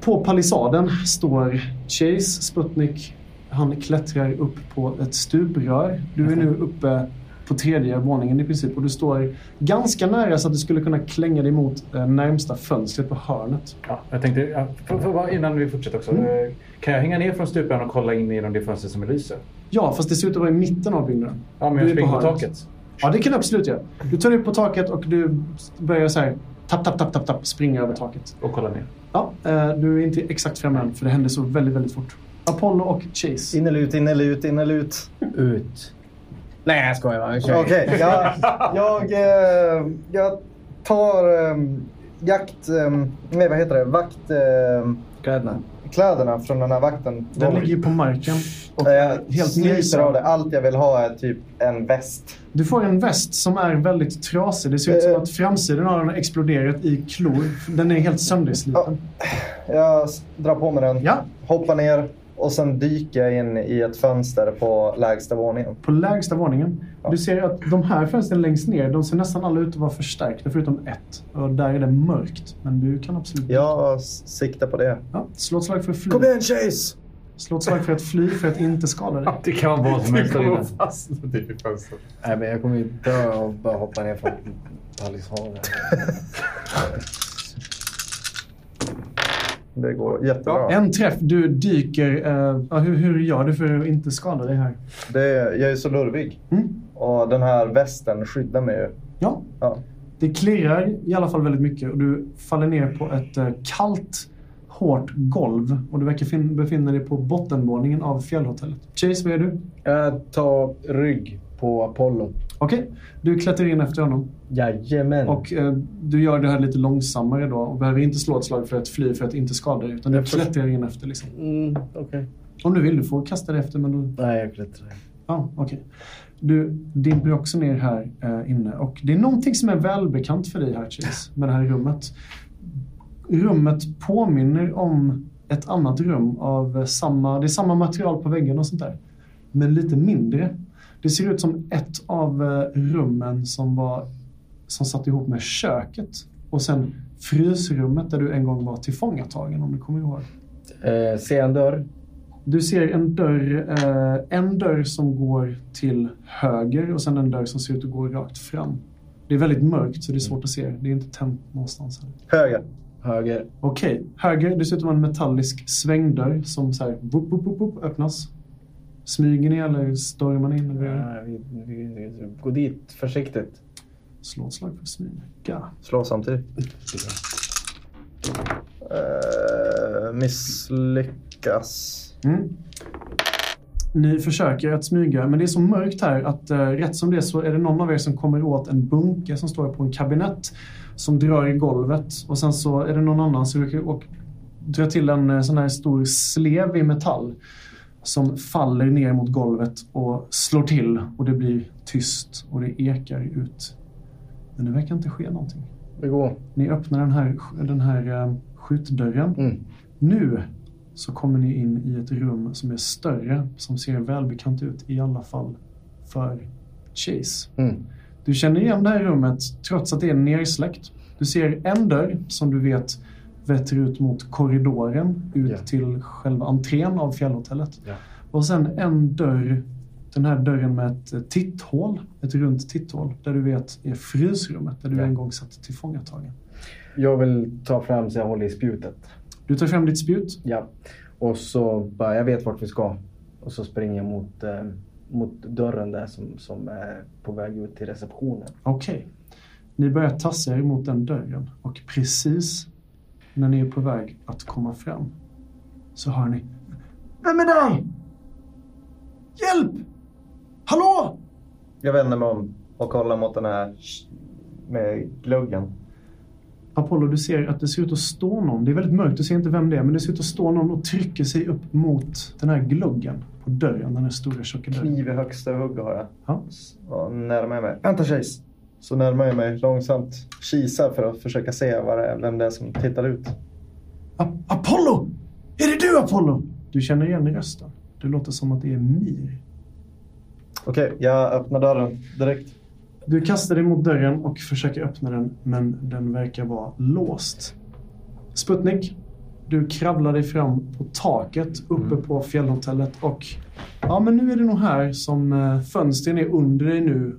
Speaker 7: På palissaden står Chase Sputnik. Han klättrar upp på ett stuprör. Du är nu uppe på tredje våningen i princip och du står ganska nära så att du skulle kunna klänga dig mot eh, närmsta fönstret på hörnet.
Speaker 8: Ja, jag tänkte, ja, för, för, bara innan vi fortsätter också.
Speaker 9: Mm.
Speaker 8: eh, Kan jag hänga ner från stupan och kolla in genom det fönster som lyser?
Speaker 7: Ja, fast det ser ut att vara i mitten av byggnaden.
Speaker 8: Ja, men
Speaker 7: Du
Speaker 8: jag
Speaker 7: är på
Speaker 8: springer på
Speaker 7: hörnet.
Speaker 8: taket.
Speaker 7: Ja, det kan du absolut göra. Du tar upp på taket och du börjar så här tapp, tapp, tapp, tapp, tapp, springa över taket.
Speaker 8: Och kolla ner.
Speaker 7: Ja, eh, du är inte exakt framme än, för det hände så väldigt, väldigt fort. Apollo och Chase.
Speaker 3: In eller ut, in eller ut, in eller ut.
Speaker 8: Ut.
Speaker 1: Nej, jag skojar bara. Nu kör vi.
Speaker 3: Okej, jag, jag, eh, jag tar eh, jakt... Eh, nej, vad heter det? Vakt... Eh,
Speaker 1: Kläderna.
Speaker 3: kläderna från den här vakten.
Speaker 7: Den ligger på marken.
Speaker 3: och jag
Speaker 7: helt
Speaker 3: sliter
Speaker 7: nysam.
Speaker 3: av det. Allt jag vill ha är typ en väst.
Speaker 7: Du får en väst som är väldigt trasig. Det ser ut som
Speaker 3: Eh.
Speaker 7: att framsidan av den har exploderat i klor. Den är helt söndersliten.
Speaker 3: Jag s- drar på mig den,
Speaker 7: Ja,
Speaker 3: hoppar ner och sen dyker jag in i ett fönster på lägsta våningen.
Speaker 7: på lägsta våningen.
Speaker 3: Ja.
Speaker 7: Du ser att de här fönstren längst ner, de ser nästan alla ut att vara förstärkta förutom ett. Och där är det mörkt. Men du kan absolut...
Speaker 3: Jag s- siktar på det.
Speaker 7: Ja, slå ett slag för att fly.
Speaker 3: igen Chase!
Speaker 7: Slå ett slag för att fly för att inte skada dig.
Speaker 8: Det kan vara vad som helst där
Speaker 9: kommer
Speaker 8: inne.
Speaker 9: att fastna typ i fönstret.
Speaker 1: Nej, men jag kommer ju dö och bara hoppa ner från palissaden.
Speaker 3: Det går jättebra.
Speaker 7: En träff. Du dyker. eh, ja, hur, hur gör du för att inte skada dig här?
Speaker 3: Det, jag är så lurvig.
Speaker 7: Mm.
Speaker 3: Och den här västen skyddar mig ju.
Speaker 7: Ja,
Speaker 3: Ja.
Speaker 7: Det klirrar i alla fall väldigt mycket och du faller ner på ett eh, kallt, hårt golv och du verkar fin- befinna dig på bottenvåningen av fjällhotellet. Chase, vad gör du?
Speaker 1: Jag tar rygg på Apollo.
Speaker 7: Okej, du klättrar in efter honom
Speaker 1: Jajamän.
Speaker 7: och eh, du gör det här lite långsammare då och behöver inte slå ett slag för att fly för att inte skada dig utan du klättrar in efter liksom.
Speaker 1: Mm, okej.
Speaker 7: Om du vill, du får kasta dig efter men då
Speaker 1: Nej, jag klättrar.
Speaker 7: Ja, okej. Du dimper också ner här eh, inne. Och det är någonting som är välbekant för dig här, Chase, med det här rummet. Rummet påminner om ett annat rum av eh, samma... Det är samma material på väggen och sånt där. Men lite mindre. Det ser ut som ett av eh, rummen som var som satt ihop med köket och sen frysrummet där du en gång var tillfångatagen om du kommer ihåg.
Speaker 1: Eh, se en dörr.
Speaker 7: Du ser en dörr, eh, en dörr som går till höger och sen en dörr som ser ut att gå rakt fram. Det är väldigt mörkt så det är svårt att se. Det är inte tänt någonstans. Här.
Speaker 3: Höger.
Speaker 1: Höger.
Speaker 7: Okej, höger. Dessutom en metallisk svängdörr som så här, boop, boop, boop, boop, öppnas. Smyger ni eller stormar ni in? Eller? Ja.
Speaker 1: Ja, vi, vi, vi, gå dit försiktigt.
Speaker 7: Slå ett slag för att smyga.
Speaker 3: Slå samtidigt. Eh, misslyckas.
Speaker 7: Mm. Ni försöker att smyga, men det är så mörkt här att eh, rätt som det är så är det någon av er som kommer åt en bunke som står på en kabinett som drar i golvet och sen så är det någon annan som råkar och drar till en eh, sån här stor slev i metall som faller ner mot golvet och slår till och det blir tyst och det ekar ut. Men det verkar inte ske någonting.
Speaker 1: Vi går.
Speaker 7: Ni öppnar den här, den här eh, skjutdörren.
Speaker 1: Mm.
Speaker 7: Nu så kommer ni in i ett rum som är större, som ser välbekant ut i alla fall för Chase.
Speaker 1: Mm.
Speaker 7: Du känner igen det här rummet trots att det är nersläckt. Du ser en dörr som du vet vetter ut mot korridoren, ut
Speaker 1: Ja.
Speaker 7: till själva entrén av fjällhotellet.
Speaker 1: Ja.
Speaker 7: Och sen en dörr, den här dörren med ett eh, titthål, ett runt titthål, där du vet är frysrummet, där du
Speaker 1: Ja.
Speaker 7: en gång satt tillfångatagen.
Speaker 1: Jag vill ta fram så jag håller i spjutet.
Speaker 7: Du tar fram ditt spjut.
Speaker 1: Ja. Och så bara, jag vet vart vi ska. Och så springer jag mot, eh, mot dörren där som, som är på väg ut till receptionen.
Speaker 7: Okej. Ni börjar tassa er mot den dörren och precis när ni är på väg att komma fram så hör ni... Vem är där? Hjälp! Hallå!
Speaker 3: Jag vänder mig om och kollar mot den här sh- med gluggen.
Speaker 7: Apollo, du ser att det ser ut att stå någon. Det är väldigt mörkt, du ser inte vem det är, men det ser ut att stå någon och trycker sig upp mot den här gluggen på dörren, den här stora tjocka dörren.
Speaker 3: Kniv i högsta hugg har jag.
Speaker 7: Ja.
Speaker 3: Så närmar jag mig. Vänta Chase! Så närmar jag mig långsamt. Kisar för att försöka se vad det är, vem det är som tittar ut.
Speaker 7: A- Apollo! Är det du, Apollo? Du känner igen rösten. Det låter som att det är Mir.
Speaker 3: Okej, jag öppnar dörren direkt.
Speaker 7: Du kastar dig mot dörren och försöker öppna den, men den verkar vara låst. Sputnik, du kravlar dig fram på taket uppe på fjällhotellet och ja, men nu är det nog här som eh, fönstren är under dig nu,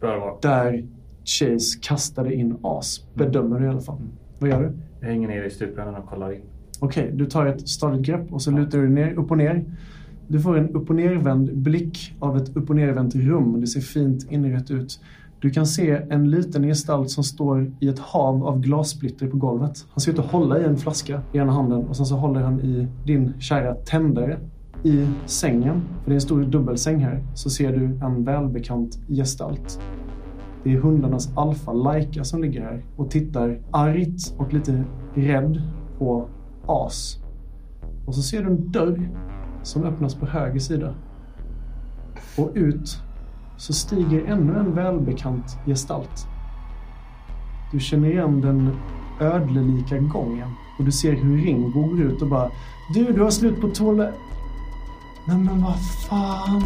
Speaker 8: Bra det var.
Speaker 7: där Chase kastade in as. Bedömer du i alla fall. Vad gör du?
Speaker 8: Jag hänger ner i stuprännan och kollar in.
Speaker 7: Okej, du tar ett stadigt grepp och så lutar du ner, upp och ner. Du får en upp och nervänd blick av ett upp och nervänt rum. Det ser fint inrett ut. Du kan se en liten gestalt som står i ett hav av glassplitter på golvet. Han ser ut att hålla i en flaska i ena handen och sen så håller han i din kära tändare. I sängen, för det är en stor dubbelsäng här, så ser du en välbekant gestalt. Det är hundarnas alfa Laika som ligger här och tittar argt och lite rädd på As. Och så ser du en dörr som öppnas på höger sida. Och ut så stiger ännu en välbekant gestalt. Du känner igen den ödlelika gången och du ser hur Ringo går ut och bara Du, du har slut på toalett... Nej men vad fan!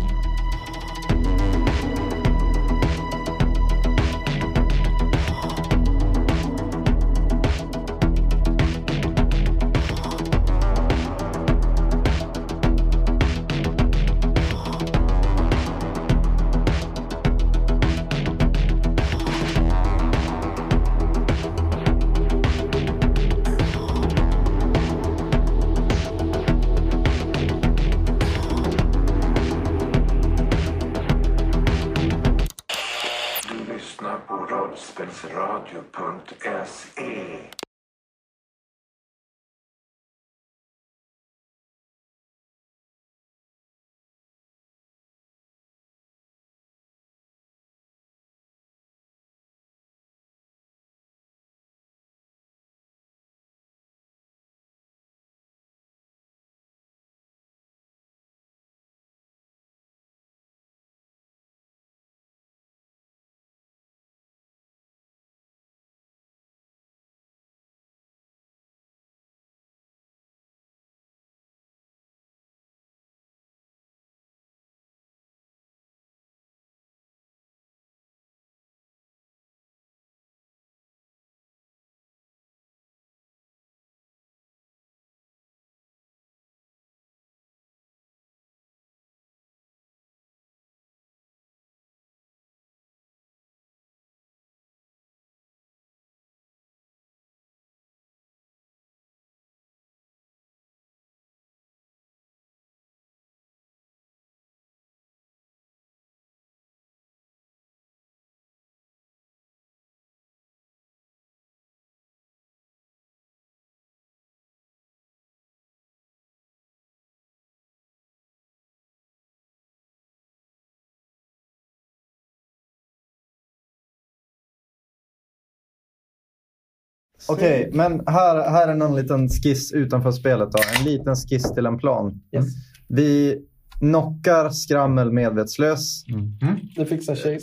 Speaker 3: Okej, men här, här är någon liten skiss utanför spelet. Då. En liten skiss till en plan.
Speaker 1: Yes.
Speaker 3: Vi knockar Skrammel medvetslös.
Speaker 8: Mm.
Speaker 9: Mm.
Speaker 1: Det fixar sig.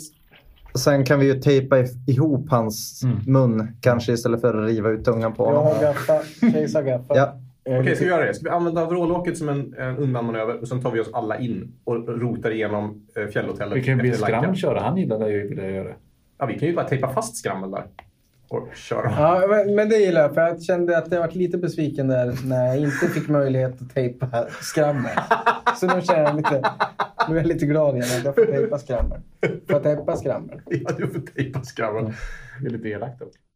Speaker 3: Sen kan vi ju tejpa i- ihop hans
Speaker 8: Mm.
Speaker 3: mun kanske istället för att riva ut tungan på
Speaker 1: Jag
Speaker 3: honom.
Speaker 1: har gaffa. Chase har gaffa. Eh,
Speaker 3: Ja.
Speaker 9: Okej, ska vi göra det? Ska vi använda vrålåket som en, en undanmanöver och sen tar vi oss alla in och rotar igenom eh, fjällhotellet?
Speaker 8: Vi kan ju be
Speaker 9: efter Lanka?
Speaker 8: Skram köra. Han gillade ju det jag göra.
Speaker 9: Ja, vi kan ju bara tejpa fast Skrammel där. Och köra.
Speaker 1: Ja, men- men det gillar jag, för jag kände att jag varit lite besviken där när jag inte fick möjlighet att tejpa skrammer. Så nu känner jag lite... Nu är jag lite glad igen att jag får tejpa skrammer. Får jag tejpa skrammer?
Speaker 9: Ja, du får tejpa Skrammel. Det är lite elakt också.